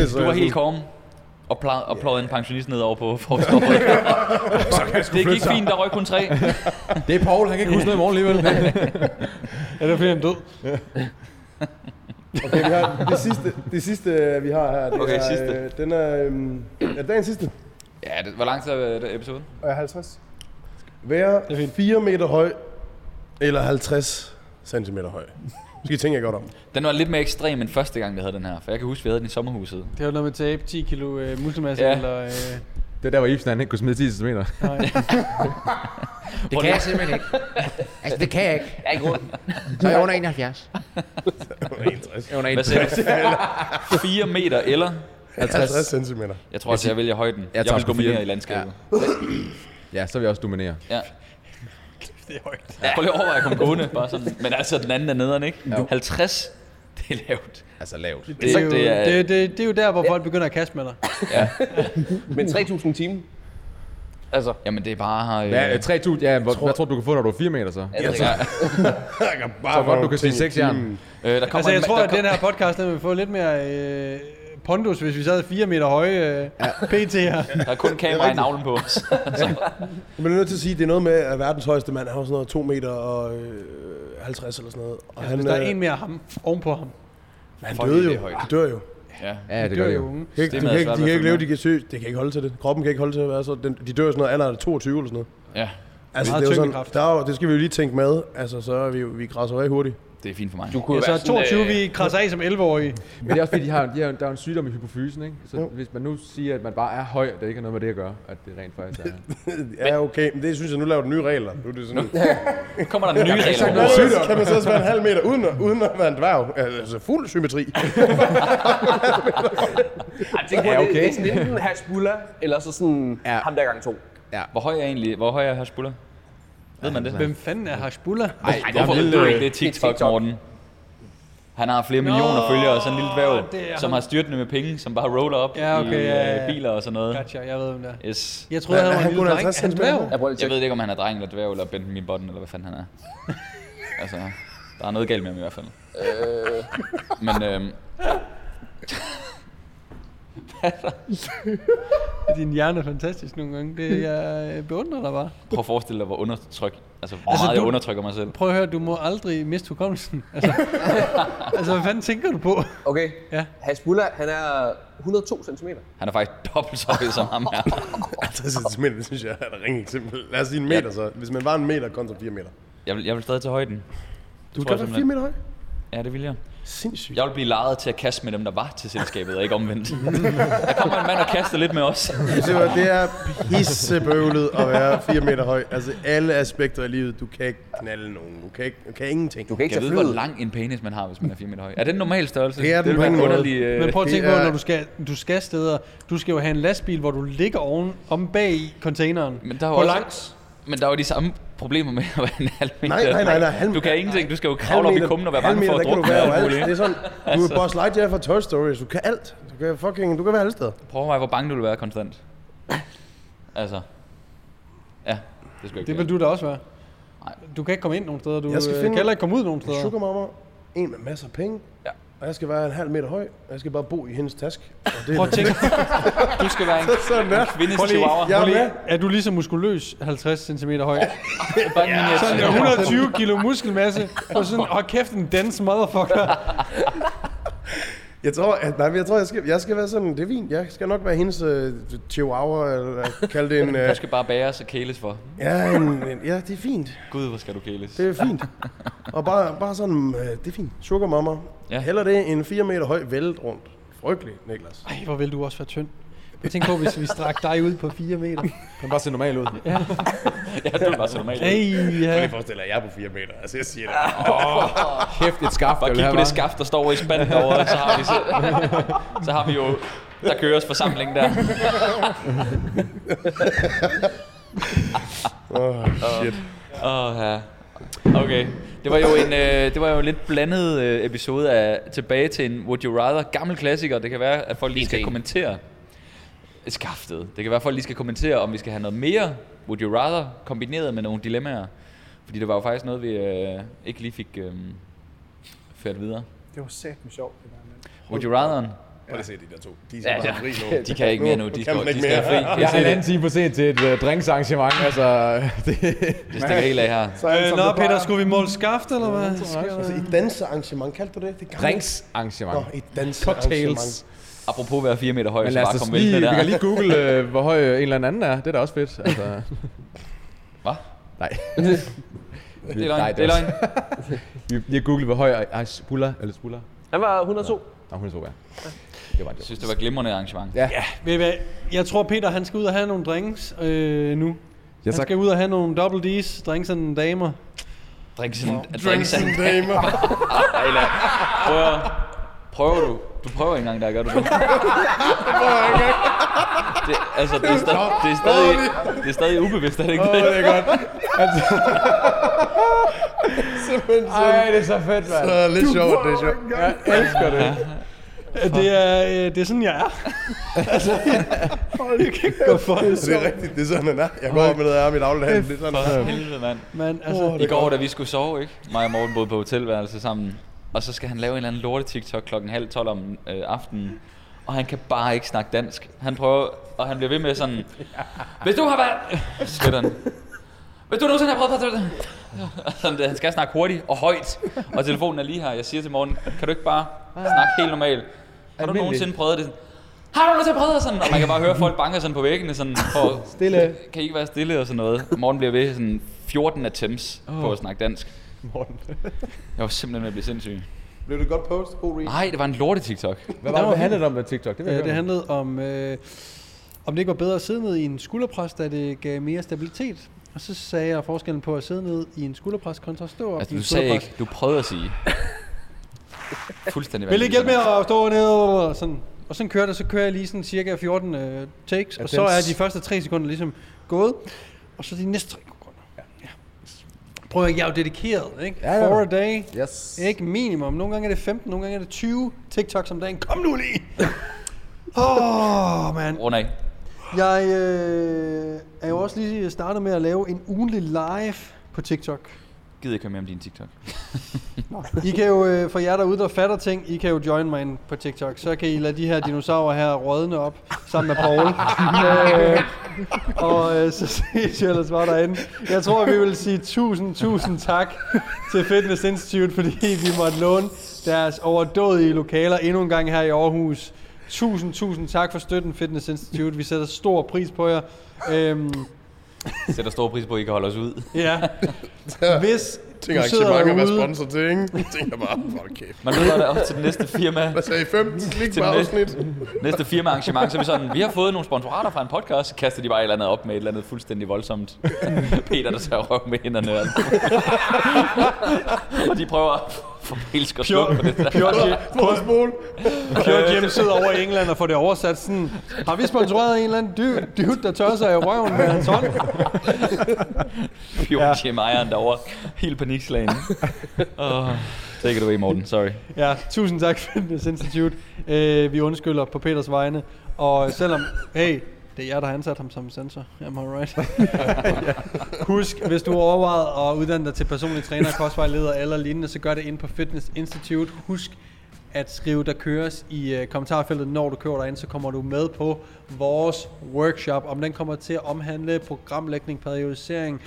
så Du var jeg helt sådan, korm og plejede og pløjede en pensionist ned over på forstået. det gik fint, der røg kun tre. Det er Paul, han kan ikke huske noget i morgen alligevel. Ja, det er fordi, han død. Okay, vi har det sidste, det sidste, øh, vi har her. Det Okay, er, sidste. øh, Den er, øhm, er dagens sidste. Ja, det, hvor lang tid er det episode? Og jeg er 50. Være 4 meter høj, eller 50 cm høj. Så skal I tænke jer godt om. Den var lidt mere ekstrem end første gang, vi havde den her. For jeg kan huske, vi havde den i sommerhuset. Det har jo noget med tabe, 10 kilo øh, muskelmasse, Ja. ja. eller... Øh, Det er der, hvor Ibsen han ikke kunne smide 10 cm. nej. Det kan jeg simpelthen ikke. Altså, det kan jeg ikke. Jeg er ikke Så er jeg under 71. Hvad siger du? 4 meter eller? 50 cm. Jeg tror altså, jeg vælger højden. Jeg, jeg tager vil sgu gå mere fire. i landskabet. Ja, så vil jeg også dominere. Ja. Ja. Prøv lige over, at jeg kom gående. Bare sådan. Men altså, den anden er nederen, ikke? 50, det er lavt. Altså lavt. Det, er jo, det er- det, det, det er jo der, hvor folk begynder at kaste med dig. Men 3.000 timer. Altså, Jamen, det er bare... Øh, Ja, øh, 3.000, ja, hvor, hvad tror du, du kan få, når du er 4 meter så? Jeg altså, Jeg kan bare tror godt, du kan sige 6 jern. øh, der kommer Altså, jeg en, tror, der at den her podcast, den vil få lidt mere øh, pondus, hvis vi sad 4 meter høje øh, pt her. Der er kun kamera i navlen på os. Jeg bliver nødt til at sige, at det er noget med, at verdens højeste mand, han var sådan noget 2 meter og øh, 50 eller sådan noget. Og Altså, han, hvis der er øh, en mere ham, ovenpå ham. han Fuck, døde det er jo. højt. Han dør jo. ja. Ja, det Det gør er det jo jo. unge. Kan ikke, de, Systemet er kan ikke, svært de at kan ikke leve, følge de kan søge. Det kan ikke holde til det. Kroppen kan ikke holde til at være så. Den, de dør jo sådan noget alder af 22 eller sådan noget. ja, Altså, Meget det, er jo sådan, tyngdekraft. der er jo, det skal vi jo lige tænke med. Altså, så er vi, jo- vi græsser af hurtigt. det er fint for mig. du kunne Ja, jo være så 22, øh, vi krasser af som 11-årige. Men det er også fordi, de har, de har, der er jo en sygdom i hypofysen, ikke? Så hvis man nu siger, at man bare er høj, det ikke har noget med det at gøre, at det rent faktisk er... ja, okay. Men det synes jeg, nu laver du nye regler. Nu er det sådan, Nu kommer der nye regler. Nå, så kan man så også være en halv meter uden, at- uden at være en dværg. Altså, fuld symmetri. Ej, det, ja, okay. det, det er sådan enten Hashbullah, eller så sådan Ja. ja. ham der gang to. Hvor høj er egentlig, hvor høj er her skulder? Ved man det? altså, Hvem fanden er Hashbullah? Ej, hvorfor ved du ikke, det er TikTok, Morten? Han har flere millioner følgere, sådan en lille det er dværg, som ham. har styrtende med penge, som bare roller op Ja, okay, i øh, ja, ja, ja. biler og sådan noget. Gotcha, jeg ved, hvem det er. Yes. Jeg troede, Hvad- han var han en lille kun dreng. 50 Han centimeter? blev. Jeg prøver lige Jeg at ved tjekke. ikke, om han er dreng eller dværg, eller Benjamin Button, eller hvad fanden han er. altså, der er noget galt med ham i hvert fald. Øh. Men øhm, Din hjerne er fantastisk nogle gange. Det, jeg øh, beundrer dig bare. prøv at forestille dig, hvor undertryk, altså, hvor altså, meget du- du... jeg undertrykker mig selv. Prøv at høre, du må aldrig miste hukommelsen. Altså, altså hvad fanden tænker du på? Okay. Ja. Hasbulla, han er 102 cm. Han er faktisk dobbelt så høj som ham her. 50 cm, det synes jeg er et ringe eksempel. Lad os sige en meter så. Hvis man var en meter kontra 4 meter. Jeg vil, jeg vil stadig til højden. Du tror jeg kan være 4 simpelthen. meter høj. Ja, det vil jeg. Sindssygt. Jeg vil blive lejet til at kaste med dem, der var til selskabet, og ikke omvendt. Der kommer en mand og kaster lidt med os. Det, var, det er pissebøvlet at være 4 meter høj. Altså alle aspekter af livet. Du kan ikke knalde nogen. Du kan, ikke, du kan ingenting. Du kan ikke Jeg tage ved, flyet. hvor lang en penis man har, hvis man er 4 meter høj. Er det en normal størrelse? Det er den det vil være på en ingen måde. underlig... Øh, Men prøv at det tænke på, er- når du skal, du skal steder. Du skal jo have en lastbil, hvor du ligger oven om bag i containeren. Men der er jo på også- langt. Men der er jo de samme problemer med at være en halv meter. Nej, nej, nej, nej, halv- Du kan ingenting. Du skal jo kravle op i kummen og være bange for at drukne. og være alt overalt. muligt. Altså. Det er sådan, du er Buzz Lightyear fra Toy Story. Du kan alt. Du kan fucking, du kan være alle steder. Prøv at være, hvor bange du vil være konstant. Altså. Ja, det skal ikke Det være. vil du da også være. Nej. Du kan ikke komme ind nogen steder. Du Jeg skal øh, finde- kan heller ikke komme ud nogen En steder. sugarmamma, en med masser af penge, Ja. og jeg skal være en halv meter høj, og jeg skal bare bo i hendes task. Og det Prøv at tænke, Du skal være en Sådan der. kvindes Prøv lige- chihuahua. Jeg er med. er du lige så muskuløs 50 cm høj? Bare en Sådan miniature. med 120 kilo muskelmasse. Og sådan, åh kæft, en dansk motherfucker. Jeg tror, at, nej, men jeg tror, jeg skal, jeg skal være sådan, det er fint. Jeg skal nok være hendes øh, chihuahua, eller kalde det en... Øh, Du skal bare bæres og kæles for. ja, en, en, ja, det er fint. Gud, hvor skal du kæles. Det er fint. Og bare, bare sådan, øh, det er fint. Sugarmamma. Ja. Ja. Heller det en 4 meter høj vældet rundt. Frygteligt, Niklas. Ej, hvor vil du også være tynd. Jeg tænker på, hvis vi strak dig ud på 4 meter. Kan bare se normal ud. Ja, det er bare så normalt. Ej, ja. Øh, forestille dig, at jeg er på 4 meter. Altså, jeg siger det. Kæft, et skaft. Bare jeg kig vil have, på det hva'? skaft, der står over i spanden derovre, så har vi, så, så har vi jo, der køres forsamling der. Oh, shit. Åh, oh, ja. Okay. Det var jo en, øh, det var jo en lidt blandet øh, episode af tilbage til en Would You Rather gammel klassiker. Det kan være, at folk lige skal kommentere skaftet. Det kan være, at folk lige skal kommentere, om vi skal have noget mere Would You Rather kombineret med nogle dilemmaer. Fordi det var jo faktisk noget, vi øh, ikke lige fik øh, ført videre. Det var satme sjovt, det der med. Would You Rather'en? Prøv lige at se de der to. De er Ja, bare ja. fri nu. De kan ikke mere nu. De skal, kan man de ikke skal mere. fri. Jeg Jeg er ser en anden det. time for sent til et uh, drinksarrangement, altså. Det, Det stikker helt af her. Så er han, Øh, som Nå, det plejer. Peter, skulle vi måle skaft, eller hvad? Altså, et dansearrangement, kaldte du det? det gamle- drinksarrangement. Nå, et dansearrangement. Apropos at være 4 meter høj, Men så lad os bare da komme lige, væltende vi der. kan lige google, øh, hvor høj en eller anden er. Det er da også fedt. Altså. Hvad? Nej. Det er løgn. Nej, Det er også- løgn. Vi, vi har googlet, hvor høj er Spuller, eller Spuller. Han var 102. Nå, hun er så ja. Det var en Jeg joke. synes, det var et glimrende arrangement. Ja. Ved I hvad? Jeg tror, Peter, han skal ud og have nogle drinks øh, nu. Ja, Han tak. skal ud og have nogle double D's, drinks and damer. Drink sådan, drink sådan. Ejla. Prøver, prøver du? Du prøver ikke engang der, gør du det? det altså, det er, stadig, det, er stadig, det er stadig ubevidst, er det ikke Åh, det? det er godt. Altså. Ej, det er så fedt, mand. Så lidt sjovt, det er sjovt. Jeg elsker det. Det er, øh, det er sådan, jeg er. altså, jeg kan ikke gå for det. Så det er rigtigt, det er sådan, den er. Jeg går op med noget af mit dagligdag. Det er sådan, den er. Helvede, mand. Men altså, I går, da vi skulle sove, ikke? Mig og Morten boede på hotelværelse sammen. Og så skal han lave en eller anden lorte TikTok klokken halv tolv om øh, aftenen. Og han kan bare ikke snakke dansk. Han prøver, og han bliver ved med sådan... Hvis du har været... Så Spytter han. Hvis du nogensinde har prøvet at... Sådan der. Han skal snakke hurtigt og højt. Og telefonen er lige her. Jeg siger til Morten, kan du ikke bare snakke helt normalt? Har du Almindelig. nogensinde prøvet det? Har du nogensinde prøvet det?" sådan? Og man kan bare høre folk banke sådan på væggene sådan for... Stille. Kan I ikke være stille og sådan noget? Og Morten bliver ved sådan 14 attempts oh. på at snakke dansk. Morten. Jeg var simpelthen ved at blive sindssyg. Blev det godt post? God read. Nej, det var en lorte TikTok. Altså, Hvad var det, det handlede om med TikTok? Det ved jeg øh, det godt. handlede om, øh, om det ikke var bedre at sidde ned i en skulderpres, da det gav mere stabilitet. Og så sagde jeg forskellen på at sidde ned i en skulderpres kontra at stå op Altså, i en du sagde skulderpres. ikke, du prøvede at sige. Fuldstændig Vil det ikke hjælpe vanvittigt, med at stå ned og sådan? Og sådan kører det, så kører jeg lige sådan cirka 14 øh, takes, og så dans. er de første 3 sekunder ligesom gået, og så de næste 3 sekunder. Ja. Prøv at høre, jeg er jo dedikeret, ikke? Ja, ja. Four a day. Yes. Ikke minimum. Nogle gange er det 15, nogle gange er det 20 TikToks om dagen. Kom nu lige! Åh, oh, mand. Rund af. Jeg øh, er jo også lige startet med at lave en ugenlig live på TikTok. Gider ikke høre mere om din TikTok. I kan jo, øh, for jer derude, der fatter ting, I kan jo join mig ind på TikTok. Så kan I lade de her dinosaurer her rådne op sammen med Paul. øh, og øh, så ses jeg ellers bare derinde. Jeg tror, vi vil sige tusind, tusind tak til Fitness Institute, fordi vi måtte låne deres overdådige lokaler endnu en gang her i Aarhus. Tusind, tusind tak for støtten, Fitness Institute. Vi sætter stor pris på jer. Øhm, Sætter stor pris på, at I kan holde os ud. ja. Hvis Tænker du ikke så sidder mange at være derude, sponsor til, ikke? Jeg tænker bare, fuck kæft. Man ved, at der er op til det næste firma. Hvad sagde I? 15 klik Til på næste- afsnit? Næste firma arrangement, så er vi sådan, vi har fået nogle sponsorater fra en podcast, så kaster de bare et eller andet op med et eller andet fuldstændig voldsomt. Peter, der tager røv med hænderne. og alt. og de prøver at få elsker sluk på det der. Vores mål. Pure Jim sidder over i England og får det oversat sådan, har vi sponsoreret en eller anden dude, dude der tør sig i røven med hans hånd? Pure Jim Ejeren derovre. Helt panikslagen. Oh, take it away, Morten. Sorry. Ja, tusind tak Fitness Institute. Øh, vi undskylder på Peters vegne. Og selvom, hey, det er jer, der har ansat ham som sensor. Am I right? Husk, hvis du overvejer at uddanne dig til personlig træner, kostvejleder eller lignende, så gør det ind på Fitness Institute. Husk at skrive, der køres i øh, kommentarfeltet, når du kører derind, så kommer du med på vores workshop. Om den kommer til at omhandle programlægning, periodisering,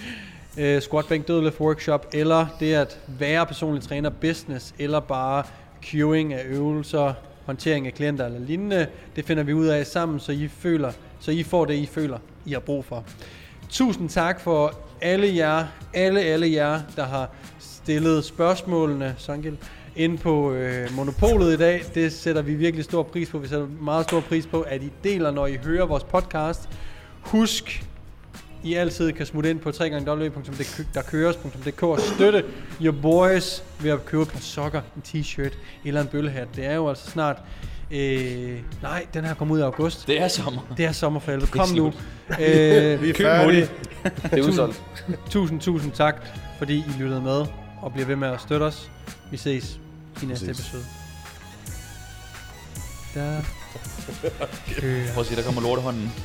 øh, squat, bænk, dødløft workshop, eller det at være personlig træner business, eller bare cueing af øvelser, håndtering af klienter eller lignende. Det finder vi ud af sammen, så I føler, så I får det, I føler, I har brug for. Tusind tak for alle jer, alle, alle jer, der har stillet spørgsmålene, Sangel, ind på øh, Monopolet i dag. Det sætter vi virkelig stor pris på. Vi sætter meget stor pris på, at I deler, når I hører vores podcast. Husk, I altid kan smutte ind på www.derkøres.dk og støtte your boys ved at købe et par sokker, en t-shirt eller en bøllehat. Det er jo altså snart... Øh, nej, den her kommer ud i august. Det er sommer. Det er sommer for helvede. Kom nu. Øh, Vi er færdige. Det er udsolgt. Tusind, tusind tak, fordi I lyttede med og bliver ved med at støtte os. Vi ses i næste ses. episode. Der. Prøv at se, der kommer lortehånden.